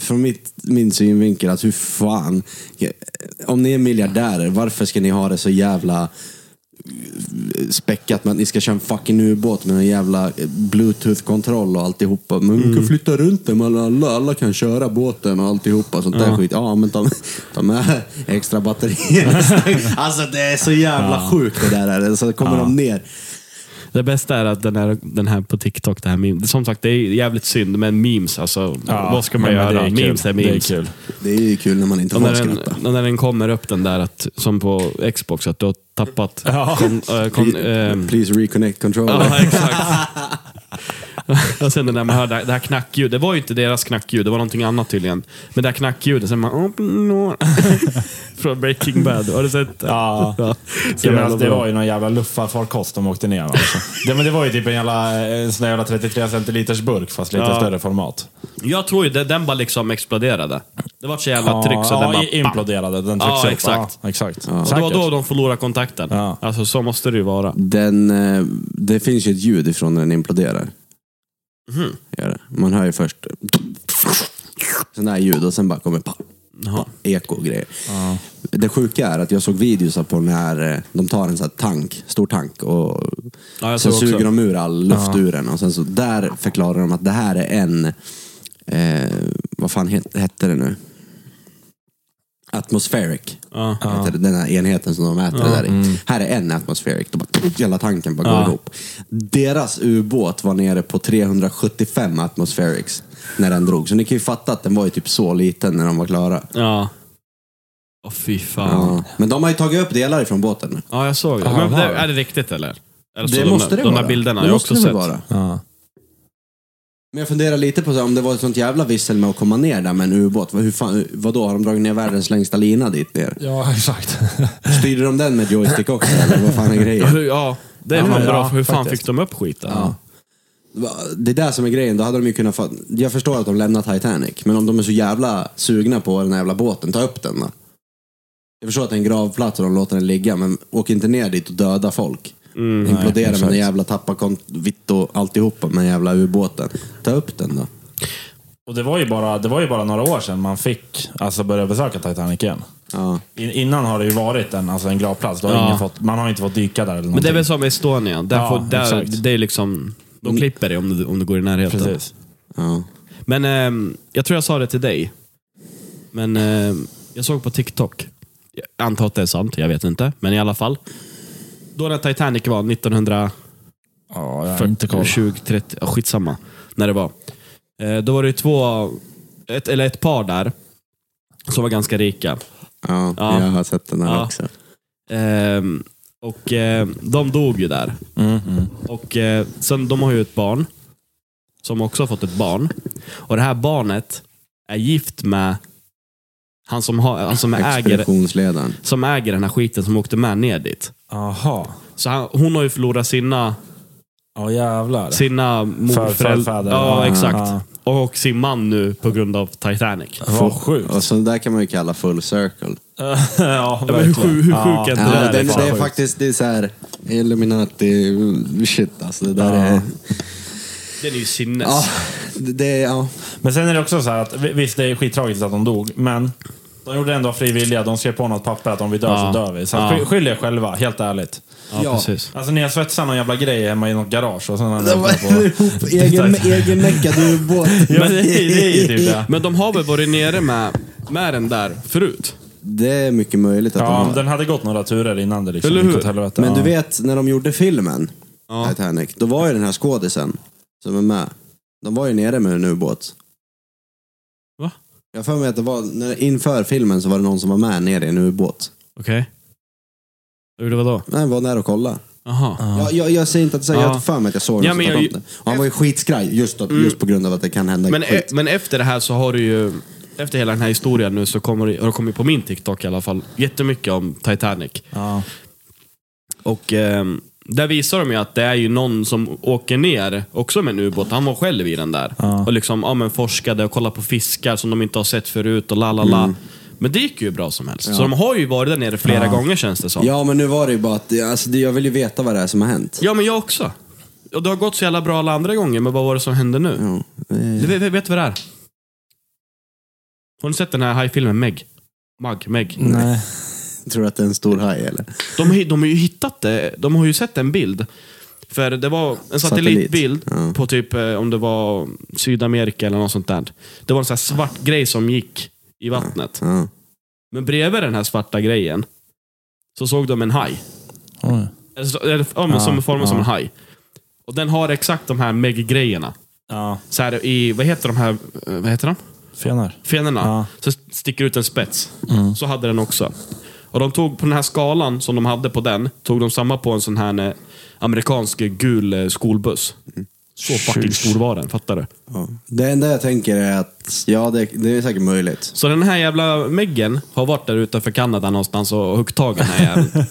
Speaker 3: från mitt, min synvinkel att hur fan, om ni är miljardärer, varför ska ni ha det så jävla späckat med att ni ska köra en fucking ubåt med en jävla eh, bluetooth-kontroll och alltihopa. Men vi
Speaker 4: Mm.
Speaker 3: kan flytta runt den, men alla, alla kan köra båten och alltihopa sånt där skit. Ja, men ta, ta med extra batterier Alltså det är så jävla sjukt det där. är. Så kommer de ner.
Speaker 4: Det bästa är att den här, den här på TikTok, det här meme. Som sagt, det är jävligt synd, men memes alltså.
Speaker 2: Ja,
Speaker 4: vad ska man
Speaker 2: men det
Speaker 4: göra?
Speaker 2: är kul.
Speaker 4: memes är
Speaker 2: Det är
Speaker 4: memes.
Speaker 2: kul.
Speaker 3: Det är ju kul när man inte
Speaker 4: Och
Speaker 3: får
Speaker 4: när, den,
Speaker 3: skratta.
Speaker 4: och när den kommer upp den där, att, som på Xbox, att du har tappat... Kon, eh, kon, ehm,
Speaker 3: Please reconnect controller.
Speaker 4: ja, exakt. Och sen när man hör det här, det här knackljudet. Det var ju inte deras knackljud, det var någonting annat tydligen. Men det här knackljudet, sen man... Från Breaking Bad. Har du sett det?
Speaker 2: Ja.
Speaker 4: Så
Speaker 2: Ja, men
Speaker 4: jävla
Speaker 2: alltså, det
Speaker 4: bra.
Speaker 2: var ju någon jävla luffarfarkost de åkte ner med, alltså. det, men det var ju typ en, jävla, en sån där jävla 33 centiliters burk fast lite
Speaker 4: Ja.
Speaker 2: större format.
Speaker 4: Jag tror ju det, den bara liksom exploderade. Det var så jävla tryck så den
Speaker 2: ja,
Speaker 4: bara...
Speaker 2: i- imploderade. Den trycks
Speaker 4: Ja,
Speaker 2: upp.
Speaker 4: exakt.
Speaker 2: Ja, exakt.
Speaker 4: Och det var
Speaker 2: Säkert.
Speaker 4: då de förlorade kontakten.
Speaker 2: Ja.
Speaker 4: Alltså så måste det ju vara.
Speaker 3: Den, eh, det finns ju ett ljud ifrån när den imploderar.
Speaker 4: Mhm.
Speaker 3: Gör det. Man hör ju först sådana här ljud och sen bara kommer pa,
Speaker 4: Jaha.
Speaker 3: eko och grejer. Det sjuka är att jag såg videos på den här, eh, de tar en sån här tank, stor tank och
Speaker 4: Ja, jag
Speaker 3: sen
Speaker 4: såg också.
Speaker 3: suger de ur all luft ur den och sen så där förklarar de att det här är en, eh, vad fan het, hette det nu? Atmospheric.
Speaker 4: Ja. Mm.
Speaker 3: Heter det, den här enheten som de äter det där i. Här är en atmospheric. Då bara, hela tanken bara går ihop. Deras ubåt var nere på 375 atmospherics när den drog. Så ni kan ju fatta att den var ju typ så liten när de var klara.
Speaker 4: Ja. Åh fy fan. Ja.
Speaker 3: Ja. Men de har ju tagit upp delar ifrån båten.
Speaker 4: jag såg det.
Speaker 2: Aha,
Speaker 4: Men det,
Speaker 2: var det?
Speaker 4: är det riktigt eller? eller så
Speaker 3: Det
Speaker 4: Alltså, de,
Speaker 3: måste det
Speaker 4: de
Speaker 3: vara.
Speaker 4: där
Speaker 3: det
Speaker 4: bilderna har jag
Speaker 3: måste
Speaker 4: också
Speaker 3: det
Speaker 4: sett.
Speaker 3: väl vara.
Speaker 2: Ja.
Speaker 3: Men jag funderar lite på så här, om det var ett sånt jävla vissel med att komma ner där med en ubåt. Vad- Hur fan, vadå, har de dragit ner världens längsta lina dit ner?
Speaker 2: ja, exakt.
Speaker 3: Styrde de den med joystick också? Eller vad fan är
Speaker 4: Ja,
Speaker 3: grejen?
Speaker 4: hur- ja, det är
Speaker 2: Ja,
Speaker 4: fan
Speaker 2: ja,
Speaker 4: bra. för Hur fan
Speaker 2: faktiskt.
Speaker 4: fick de upp skiten? Ja.
Speaker 3: Va- Det är där som är grejen. Då hade de ju kunnat få... Jag förstår att de lämnar Titanic, men om de är så jävla sugna på den här jävla båten, ta upp den då. Jag förstår att det är en gravplats och de låter den ligga, men åk inte ner dit och döda folk. Implodera med den jävla tappa kont- vitt och alltihopa med den jävla ubåten. Ta upp den då.
Speaker 2: Och det var, ju bara, det var ju bara några år sedan man fick alltså, börja besöka Titanic igen.
Speaker 3: Ja.
Speaker 2: In, innan har det ju varit en, alltså, en gravplats. Då har
Speaker 4: Ja.
Speaker 2: ingen fått, man har inte fått dyka där eller
Speaker 4: Men det är
Speaker 2: någonting.
Speaker 4: väl som Estonia. Där
Speaker 2: Ja,
Speaker 4: får, där,
Speaker 2: exakt.
Speaker 4: det är liksom, de klipper dig om du, om du går i närheten.
Speaker 2: Precis.
Speaker 3: ja.
Speaker 4: Men ehm, jag tror jag sa det till dig. Men ehm, jag såg på TikTok. Jag antar att det är sant, jag vet inte. Men i alla fall. Då när Titanic var 1900...
Speaker 2: Ja, jag har inte koll.
Speaker 4: 40, 20, 30, ja, skitsamma. När det var. Eh, då var det ju två, ett, eller ett par där, som var ganska rika.
Speaker 3: Ja,
Speaker 4: Ja.
Speaker 3: jag har sett den här
Speaker 4: Ja.
Speaker 3: också.
Speaker 4: Ehm, och eh, de dog ju där.
Speaker 2: Mm,
Speaker 4: Och eh, sen, de har ju ett barn. Som också har fått ett barn. Och det här barnet är gift med han som, har, han som, äger,
Speaker 3: Expeditionsledaren.
Speaker 4: som äger den här skiten som åkte med ner dit.
Speaker 2: Aha.
Speaker 4: Så han, hon har ju förlorat sina
Speaker 2: Ja, jävlar.
Speaker 4: sina morföräldrar.
Speaker 2: förfäder.
Speaker 3: Ah,
Speaker 4: Ja,
Speaker 2: Ja.
Speaker 4: exakt.
Speaker 2: Ja.
Speaker 4: Och sin man nu på grund av Titanic.
Speaker 2: Vad sjukt.
Speaker 3: Och så där kan man ju kalla full circle.
Speaker 2: ja,
Speaker 4: men hur sjuk- hur sjuk är inte
Speaker 3: Ah. Ja, det,
Speaker 4: Det där liksom? är
Speaker 3: det,
Speaker 2: liksom.
Speaker 4: fan
Speaker 3: är
Speaker 4: sjukt.
Speaker 3: faktiskt det är så här Illuminati shit alltså. Det där
Speaker 2: Ja.
Speaker 3: är...
Speaker 4: Den är ju sinnes.
Speaker 3: Ja, det- det är... Ja.
Speaker 2: Men sen är det också så här att vi- visst, det är skittragiskt att de dog, men de gjorde ändå frivilliga. De skrev på något papper att om vi dör
Speaker 4: Ja.
Speaker 2: så dör vi. Så
Speaker 4: Ja.
Speaker 2: sk- skyll er själva, helt ärligt.
Speaker 4: Ja,
Speaker 3: Ja.
Speaker 4: precis.
Speaker 2: Alltså ni har svetsat någon jävla grej hemma i något garage och sen har ni
Speaker 3: Det var
Speaker 2: öppnat på...
Speaker 3: ihop, egen, egenmäckad ubåt.
Speaker 2: Ja, men det, är- det är ju typ det.
Speaker 4: Men de har väl varit nere med, med den där förut?
Speaker 3: Det är mycket möjligt att
Speaker 2: Ja,
Speaker 3: de har.
Speaker 2: den hade gått några turer innan det liksom
Speaker 4: Eller
Speaker 2: gick
Speaker 4: hur?
Speaker 2: åt helvete.
Speaker 3: Men du
Speaker 2: Ja.
Speaker 3: vet, när de gjorde filmen,
Speaker 4: Ja.
Speaker 3: Titanic, då var ju den här skådisen som är med. De var ju nere med en ubåt.
Speaker 4: Va?
Speaker 3: Jag har för mig att det var, när, inför filmen så var det någon som var med nere i en ubåt.
Speaker 4: Okej. Okay. Hur det var då?
Speaker 3: Nej, var där och kolla.
Speaker 4: Aha.
Speaker 3: Jag, jag, jag säger inte att säga, jag
Speaker 4: Ja.
Speaker 3: har för mig att jag såg
Speaker 4: Ja,
Speaker 3: någon som
Speaker 4: men
Speaker 3: pratade
Speaker 4: jag- Mm.
Speaker 3: om det. Och han var ju skitskraj just, att, just på grund av att det kan hända
Speaker 4: Men, e-
Speaker 3: skit.
Speaker 4: men efter det här så har du ju, efter hela den här historien nu så kommer det, har det kommit på min TikTok i alla fall, jättemycket om Titanic.
Speaker 2: Ja.
Speaker 4: Och ehm, där visar de ju att det är ju någon som åker ner, också med en ubåt, han var själv i den där. Och liksom, ja men forskade och kollade på fiskar som de inte har sett förut och la la la. Men det gick ju bra som helst. Så de har ju varit där nere flera gånger känns det som. Ja.
Speaker 3: Ja, men nu var det ju bara att, det- alltså, det- jag vill ju veta vad det är som har hänt.
Speaker 4: men jag också. Och det har gått så jävla bra alla andra gånger, men vad var det som hände nu?
Speaker 3: Ja, eh,
Speaker 4: Du vet, vet- vet du vad det är? Har ni sett den här hajfilmen Meg? Mag, Meg.
Speaker 3: Nej. Tror du att det är en stor haj eller?
Speaker 4: De, har ju- de har ju hittat det. De har ju sett en bild. För det var en satellitbild
Speaker 3: Satellit, ja.
Speaker 4: på typ eh, om det var Sydamerika eller något sånt där. Det var en sån här svart grej som gick i vattnet.
Speaker 3: Ja.
Speaker 4: Men bredvid den här svarta grejen så såg de en haj.
Speaker 2: Oj.
Speaker 4: Eller så- eller- Ja, men som är formad som en haj. Och den har exakt de här meg-grejerna.
Speaker 2: Ja,
Speaker 4: Så här i, vad heter de här, eh, vad heter de?
Speaker 2: fenar.
Speaker 4: fenorna.
Speaker 2: Ja.
Speaker 4: Så sticker ut en spets. Så hade den också. Och de tog på den här skalan som de hade på den, tog de samma på en sån här eh, amerikansk gul eh, skolbuss. Så fucking stor var den, fattar du?
Speaker 3: Ja. Det enda jag tänker är att, ja det, det är säkert möjligt.
Speaker 4: Så den här jävla Meggen har varit där utanför Kanada någonstans och huggit tag i den här jäveln.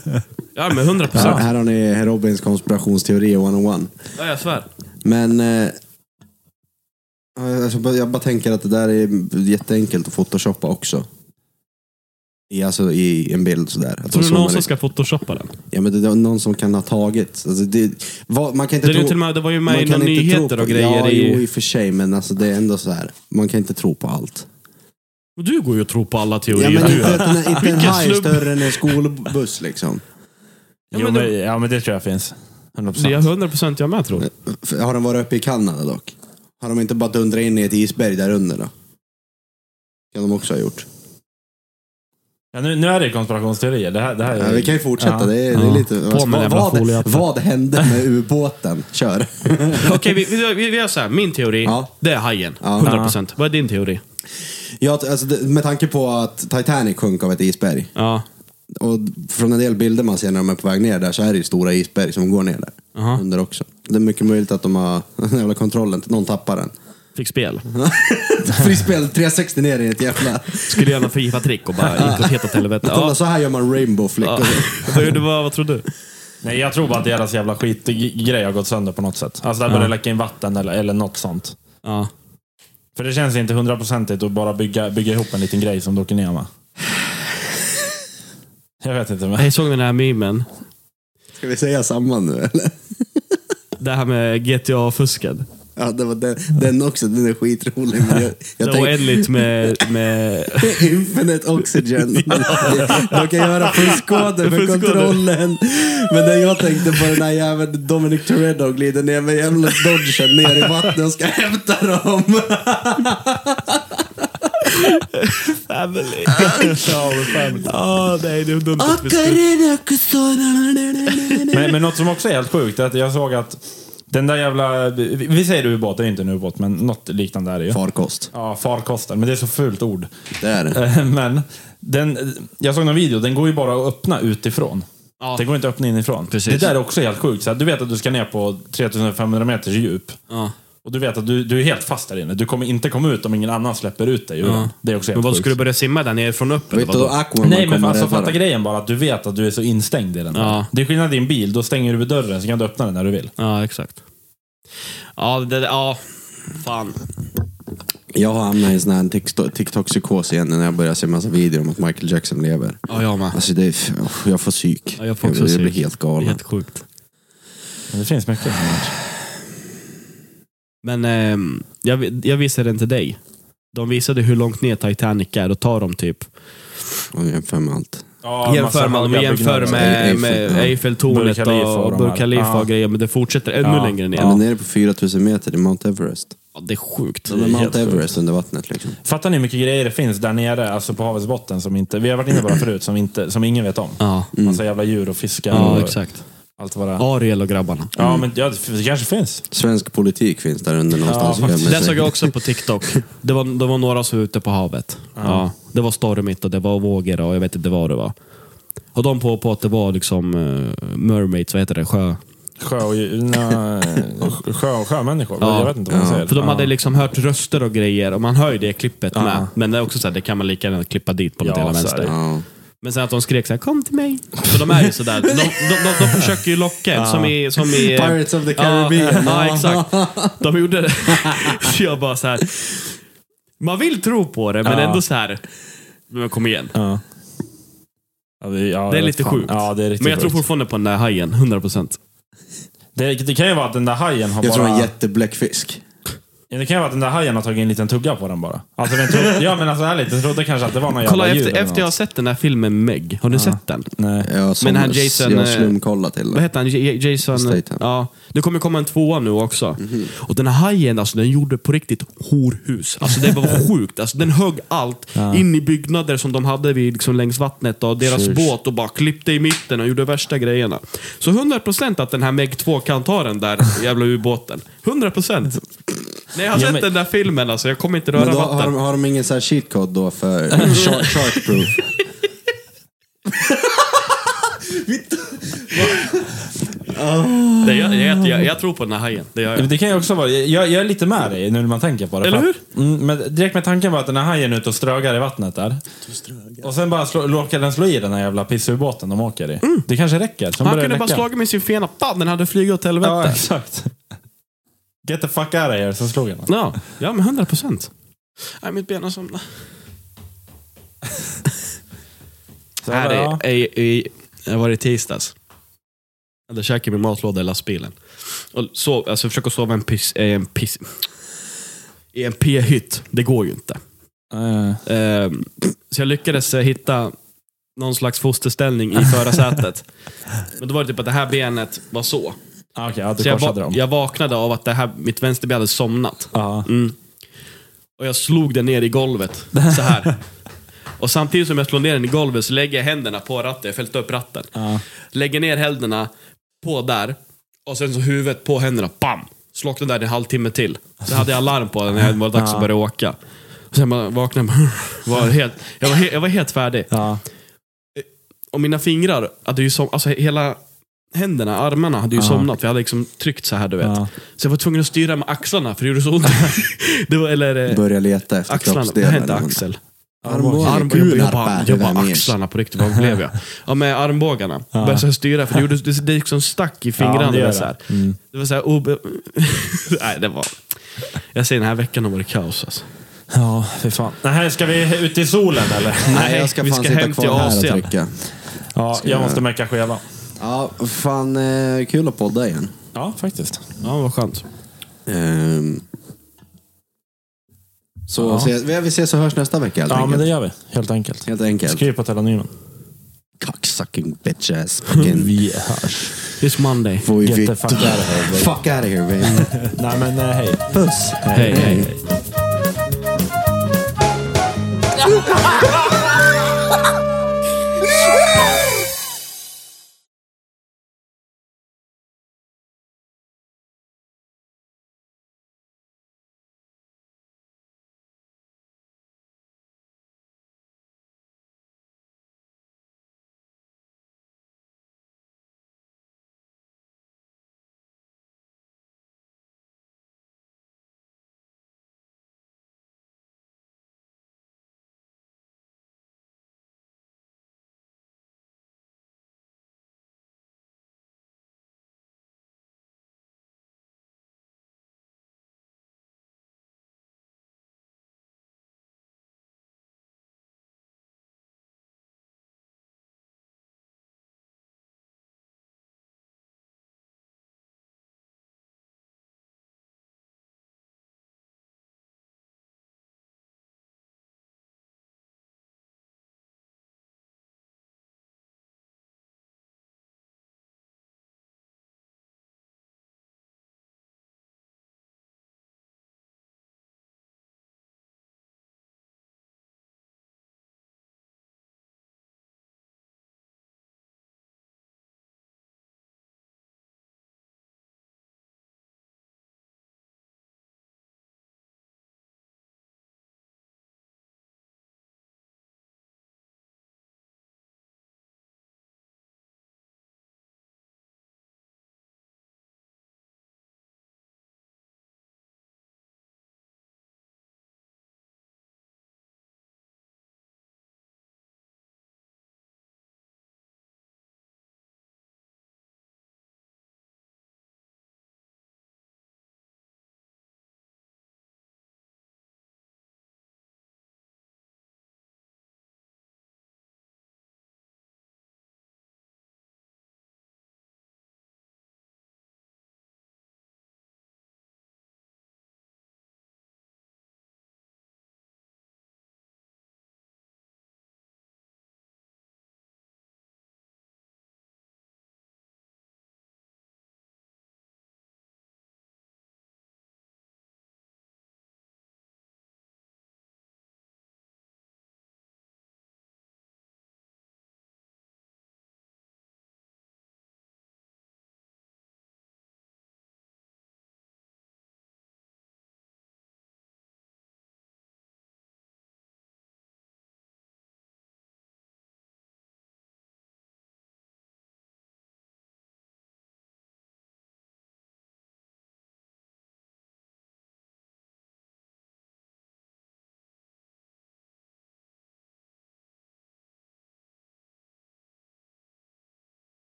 Speaker 4: Ja, men 100
Speaker 3: Så
Speaker 4: procent.
Speaker 3: här har ni Robins konspirationsteori 101.
Speaker 4: Ja, jag svär.
Speaker 3: Men eh, alltså, jag bara- jag bara tänker att det där är jätteenkelt att photoshoppa också. I, alltså i en bild sådär. Att
Speaker 4: Tror
Speaker 3: de
Speaker 4: du
Speaker 3: zoomar
Speaker 4: någon som
Speaker 3: in.
Speaker 4: ska photoshoppa den?
Speaker 3: Ja men det är någon som kan ha tagit. Alltså, det, vad, man kan inte
Speaker 4: Det, är ju
Speaker 3: tro-
Speaker 4: till och med, det var ju
Speaker 3: man
Speaker 4: med i
Speaker 3: kan
Speaker 4: några
Speaker 3: inte tro
Speaker 4: nyheter
Speaker 3: på-
Speaker 4: och grejer.
Speaker 3: Ja, jo
Speaker 4: i...
Speaker 3: i och för sig men alltså det är ändå så här. Man kan inte tro på allt.
Speaker 4: Och Du går ju och tror på alla
Speaker 3: Ja
Speaker 4: teorier.
Speaker 3: men
Speaker 4: du.
Speaker 3: inte, att den är- inte en
Speaker 4: Vilken
Speaker 3: haj
Speaker 4: slump.
Speaker 3: större än en skolbuss liksom.
Speaker 4: Ja,
Speaker 2: Jo,
Speaker 4: men
Speaker 2: men, ja, men det tror jag finns. 100%.
Speaker 4: Det är 100 procent jag med tror.
Speaker 3: F- Har de varit uppe i Kanada dock? Har de inte bara dundrat in i ett isberg där under då? Kan de också ha gjort.
Speaker 2: Ja, nu, nu är det konspirationsteorier. Det här, det här är...
Speaker 3: Ja, vi kan ju fortsätta.
Speaker 2: Ja.
Speaker 3: Det, är, det är lite... alltså,
Speaker 4: med
Speaker 3: vad,
Speaker 4: jävla
Speaker 3: vad,
Speaker 4: foliehatten.
Speaker 3: vad hände med ubåten? Kör.
Speaker 4: Okej, vi, vi, vi, vi gör så här. Min teori,
Speaker 3: Ja.
Speaker 4: det är hajen.
Speaker 3: Ja.
Speaker 4: 100 procent. Vad är din teori?
Speaker 3: ja, alltså, det- med tanke på att Titanic sjönk av ett isberg.
Speaker 4: Ja.
Speaker 3: Och från en del bilder man ser när de är på väg ner där så är det ju stora isberg som går ner där.
Speaker 4: Aha.
Speaker 3: Under också. Det är mycket möjligt att de har den jävla kontrollen, någon tappar den.
Speaker 4: Fick spel.
Speaker 3: Frispel 360 ner i ett jävla...
Speaker 4: Skulle göra någon FIFA-trick och bara gick åt helt åt helvete.
Speaker 3: Kolla,
Speaker 4: Ja.
Speaker 3: så här gör man rainbow flick.
Speaker 4: Ja. Vad gjorde- Vad, vad tror du?
Speaker 2: Nej, jag tror bara att deras jävla skitgrej har gått sönder på något sätt. Alltså där börjar läcka in vatten eller, eller något sånt.
Speaker 4: Ja.
Speaker 2: För det känns inte hundraprocentigt att bara bygga, bygga ihop en liten grej som du åker ner med. Jag vet inte. Men...
Speaker 4: Jag såg den här memen.
Speaker 3: Ska vi säga samma nu eller?
Speaker 4: Det här med GTA-fusket.
Speaker 3: Ja, det var den, den också. Den är skitrolig. Men jag,
Speaker 4: Det
Speaker 3: jag
Speaker 4: var
Speaker 3: tänkte-
Speaker 4: oändligt med... med
Speaker 3: Infinite Oxygen. De kan göra fuskkoder för
Speaker 4: Fuskkoder.
Speaker 3: kontrollen. Men den jag tänkte på den här jäveln Dominic Toretto glider ner med jävla dodgen ner i vattnet och ska hämta dem.
Speaker 4: family. Ja, nej, det är dumt att vi skulle-
Speaker 2: Men, men något som också är helt sjukt är att jag såg att den där jävla... Vi vi säger ubåt, det är inte en ubåt, men något liknande är det ju.
Speaker 3: Farkost.
Speaker 2: Ja, farkosten. Men det är så fult ord.
Speaker 3: Det är det.
Speaker 2: Eh, Men den, jag såg någon video, den går ju bara att öppna utifrån.
Speaker 4: Ja.
Speaker 2: Den går inte att öppna inifrån.
Speaker 4: Precis.
Speaker 2: Det där är också helt sjukt. Så här, du vet att du ska ner på 3500 meters djup.
Speaker 4: Ja.
Speaker 2: Och du vet att du, du är helt fast där inne. Du kommer inte komma ut om ingen annan släpper ut dig ur den. Det är också
Speaker 4: Men
Speaker 2: helt
Speaker 4: vad,
Speaker 2: sjukt.
Speaker 4: skulle du börja simma där nere från upp? Eller
Speaker 3: Vet du då
Speaker 4: vadå?
Speaker 3: Aquaman
Speaker 2: Nej, men
Speaker 3: kommer
Speaker 2: alltså
Speaker 3: rädda
Speaker 2: fatta
Speaker 3: dem?
Speaker 2: grejen bara att du vet att du är så instängd i den. där.
Speaker 4: Ja.
Speaker 2: Det är skillnad i en bil, då stänger du dörren så kan du öppna den när du vill.
Speaker 4: Ja, exakt. Ja, det, ja. Fan.
Speaker 3: Jag har hamnat i en sån här TikTok- TikTok-psykos igen när jag börjar se massa videor om att Michael Jackson lever.
Speaker 4: Ja, jag med.
Speaker 3: Alltså det är, f- oh, jag får psyk.
Speaker 4: Ja, jag får också
Speaker 3: jag, blir
Speaker 4: psyk.
Speaker 3: helt galen.
Speaker 4: Helt sjukt.
Speaker 2: Men det finns mycket. som är-
Speaker 4: Men ehm, jag, vi- jag visade den till dig. De visade hur långt ner Titanic är och tar dem typ.
Speaker 3: Om jag jämför med allt.
Speaker 2: Ja,
Speaker 4: jämför
Speaker 2: massa
Speaker 4: man
Speaker 2: höga
Speaker 4: jämför
Speaker 2: byggnader.
Speaker 4: med,
Speaker 3: Eiffel-
Speaker 4: med
Speaker 3: ja.
Speaker 2: Burj
Speaker 4: Eiffeltornet
Speaker 2: Khalifa och
Speaker 4: och,
Speaker 2: de
Speaker 4: Burj
Speaker 2: här.
Speaker 4: Khalifa
Speaker 2: Ja.
Speaker 4: och grejer, men det fortsätter ännu
Speaker 2: Ja.
Speaker 4: längre ner.
Speaker 3: Ja. Den är nere på 4000 meter i Mount Everest.
Speaker 4: Ja, det är sjukt.
Speaker 3: De är
Speaker 2: helt
Speaker 3: Mount
Speaker 2: sjukt.
Speaker 3: Everest under vattnet liksom.
Speaker 2: Fattar ni hur mycket grejer det finns där nere, alltså på havets botten, som inte, vi har varit inne på det förut, som, inte, som ingen vet om.
Speaker 4: Ja, Mm.
Speaker 2: Massa jävla djur och fiskar
Speaker 4: ja
Speaker 2: och
Speaker 4: exakt.
Speaker 2: allt vad det är.
Speaker 4: Ariel och grabbarna.
Speaker 2: Ja, men ja, det kanske finns.
Speaker 3: Svensk politik finns där under någonstans.
Speaker 2: Ja, faktiskt.
Speaker 4: Den såg jag också på TikTok. Det var, det var några som var ute på havet. Ja, det var stormigt och det var vågor och jag vet inte vad det var. Och de på, på att det var liksom eh, mermaids, vad heter det, sjö...
Speaker 2: Sjö och, na, sjö och sjömänniskor. Jag vet inte vad man
Speaker 4: Ja.
Speaker 2: säger.
Speaker 4: För de
Speaker 2: Ja.
Speaker 4: hade liksom hört röster och grejer och man hör ju det i klippet med. Men det är också så här, det kan man lika gärna klippa dit på något
Speaker 2: Ja,
Speaker 4: jävla
Speaker 2: så är
Speaker 4: vänster.
Speaker 2: det.
Speaker 3: Ja.
Speaker 4: Men sen att de skrek så här, kom till mig. Så de är ju sådär. De, de, de, de försöker ju locka en, som i... Som i eh,
Speaker 3: Pirates of the Caribbean.
Speaker 4: Ja, ja, exakt. De gjorde det. Så jag bara så här. Man vill tro på det, men
Speaker 2: Ja.
Speaker 4: ändå så här. Men kom igen.
Speaker 2: Ja. Ja, det, ja,
Speaker 4: Det är
Speaker 2: jag vet
Speaker 4: lite
Speaker 2: fan.
Speaker 4: sjukt.
Speaker 2: Ja, det är riktigt
Speaker 4: men jag tror
Speaker 2: sjukt.
Speaker 4: fortfarande på den där hajen, 100 procent.
Speaker 2: Det, det kan ju vara att den där hajen har
Speaker 3: Jag tror
Speaker 2: bara...
Speaker 3: en jättebläckfisk.
Speaker 2: Ja, Det kan ju vara att den där hajen har tagit en liten tugga på den bara. Alltså, den tro... ja, men alltså ärligt, jag trodde kanske att det var någon
Speaker 4: Kolla,
Speaker 2: jävla djur alltså.
Speaker 4: efter,
Speaker 2: eller
Speaker 4: efter jag har
Speaker 2: något.
Speaker 4: sett den här filmen Meg, har du sett den?
Speaker 2: Nej.
Speaker 3: Jag som,
Speaker 4: han Jason,
Speaker 3: Jag har
Speaker 4: eh,
Speaker 3: slumkollat till
Speaker 4: Vad
Speaker 3: det.
Speaker 4: heter han? J- J- Jason...
Speaker 3: Statham.
Speaker 4: Ja. Det kommer komma en tvåa nu också.
Speaker 2: Mhm.
Speaker 4: Och den här hajen, alltså den gjorde på riktigt horhus. Alltså det var sjukt. Alltså den högg allt in i byggnader som de hade vid, liksom, längs vattnet och deras
Speaker 2: Tjus.
Speaker 4: båt och bara klippte i mitten och gjorde värsta grejerna. Så 100% att den här Meg 2 kan ta den där jävla ubåten. 100%! När jag har
Speaker 2: Ja,
Speaker 4: sett
Speaker 2: men-
Speaker 4: den där filmen alltså, jag kommer inte röra
Speaker 3: Men då har,
Speaker 4: vatten.
Speaker 3: de, har de ingen så här cheat code då för shark, shark proof?
Speaker 4: Det, jag, jag, jag, jag tror på den här hajen. Det gör
Speaker 2: Ja, men
Speaker 4: jag.
Speaker 2: Det kan ju också vara, jag, jag är lite med dig nu när man tänker på det.
Speaker 4: Eller
Speaker 2: För att- Mm, men direkt med tanken var att den här hajen är ute och strögar i vattnet där. Och sen bara slå, råkar den slå i den här jävla pissubåten de åker i. Det kanske räcker. Sen
Speaker 4: Mm. Han
Speaker 2: börjar
Speaker 4: kunde
Speaker 2: det
Speaker 4: bara
Speaker 2: läcka.
Speaker 4: slagit med sin fena. Bam, den hade flugit åt
Speaker 2: Ja,
Speaker 4: helvete.
Speaker 2: exakt. Get the fuck out of here, sen slog han den.
Speaker 4: Ja, ja men 100 procent. Nej, mitt ben har somnat.
Speaker 2: Så
Speaker 4: Här
Speaker 2: ja.
Speaker 4: är, är, är, jag var i tisdags. Jag hade käkat min matlåda i lastbilen. Och sov, alltså jag försöker sova i en piss, i en piss, i en p-hytt. Det går ju inte.
Speaker 2: Eh,
Speaker 4: Ehm, Så jag lyckades eh, hitta någon slags fosterställning i förarsätet. Men då var det typ att det här benet var så.
Speaker 2: ah, Okej, ja, du
Speaker 4: Så jag, va-
Speaker 2: korsade dem.
Speaker 4: jag vaknade av att det här, mitt vänsterben hade somnat.
Speaker 2: Ja.
Speaker 4: Mm. Och jag slog den ner i golvet. Så här. Och samtidigt som jag slår ner den i golvet så lägger jag händerna på ratten. Jag fällt upp ratten. Lägger ner händerna på där. Och sen så huvudet på händerna. Bam! Slocknade där en halvtimme till. Så hade jag alarm på den när det var dags att börja åka. Och sen bara vaknade jag. Var helt, jag, var helt, jag var helt färdig. Eh,
Speaker 2: Ja.
Speaker 4: Och mina fingrar hade ju som, alltså hela händerna, armarna hade ju somnat. För jag hade liksom tryckt så här du vet.
Speaker 2: Ja.
Speaker 4: Så jag var tvungen att styra med axlarna för det gjorde så ont. det var, eller, eh,
Speaker 3: Börja leta efter
Speaker 4: Axlarna, det
Speaker 3: kroppsdelar.
Speaker 4: hände axel.
Speaker 3: Armbågen.
Speaker 4: Armbågen. Jag bara,
Speaker 3: Knarpa,
Speaker 4: jag bara
Speaker 3: huvud ner.
Speaker 4: axlarna på riktigt, vad blev jag? Ja, med armbågarna. Började så här styra, för det, gjorde, det, det liksom stack i fingrarna.
Speaker 2: Ja, det
Speaker 4: det,
Speaker 2: gör
Speaker 4: var
Speaker 2: det. Mm.
Speaker 4: så här, det var så här obe... Nej, det var... Jag säger den här veckan har varit kaos alltså.
Speaker 2: ja, fy fan. Nej, ska vi ut i solen eller?
Speaker 3: Nej, jag ska
Speaker 4: vi
Speaker 3: fan
Speaker 4: ska
Speaker 3: sitta
Speaker 4: hem till
Speaker 3: kvar här och
Speaker 4: Asien.
Speaker 3: trycka.
Speaker 2: Ja, jag måste mecka skeva.
Speaker 3: Ja, fan eh, kul att podda igen.
Speaker 2: Ja, faktiskt.
Speaker 4: Ja, vad skönt.
Speaker 3: Ehm. Så
Speaker 2: Ja.
Speaker 3: ses, vi ses och hörs nästa vecka helt
Speaker 2: Ja,
Speaker 3: enkelt.
Speaker 2: men det gör vi. Helt enkelt.
Speaker 3: Helt enkelt.
Speaker 2: Skriv på telonymen.
Speaker 3: Cocksucking bitch ass. Fucking
Speaker 2: Vi hörs.
Speaker 4: It's Monday.
Speaker 3: voi
Speaker 2: Get the
Speaker 3: vitt.
Speaker 2: fuck out of here.
Speaker 3: Fuck out of here baby.
Speaker 2: Nej, men eh, hej.
Speaker 3: Puss.
Speaker 4: Hej, hej.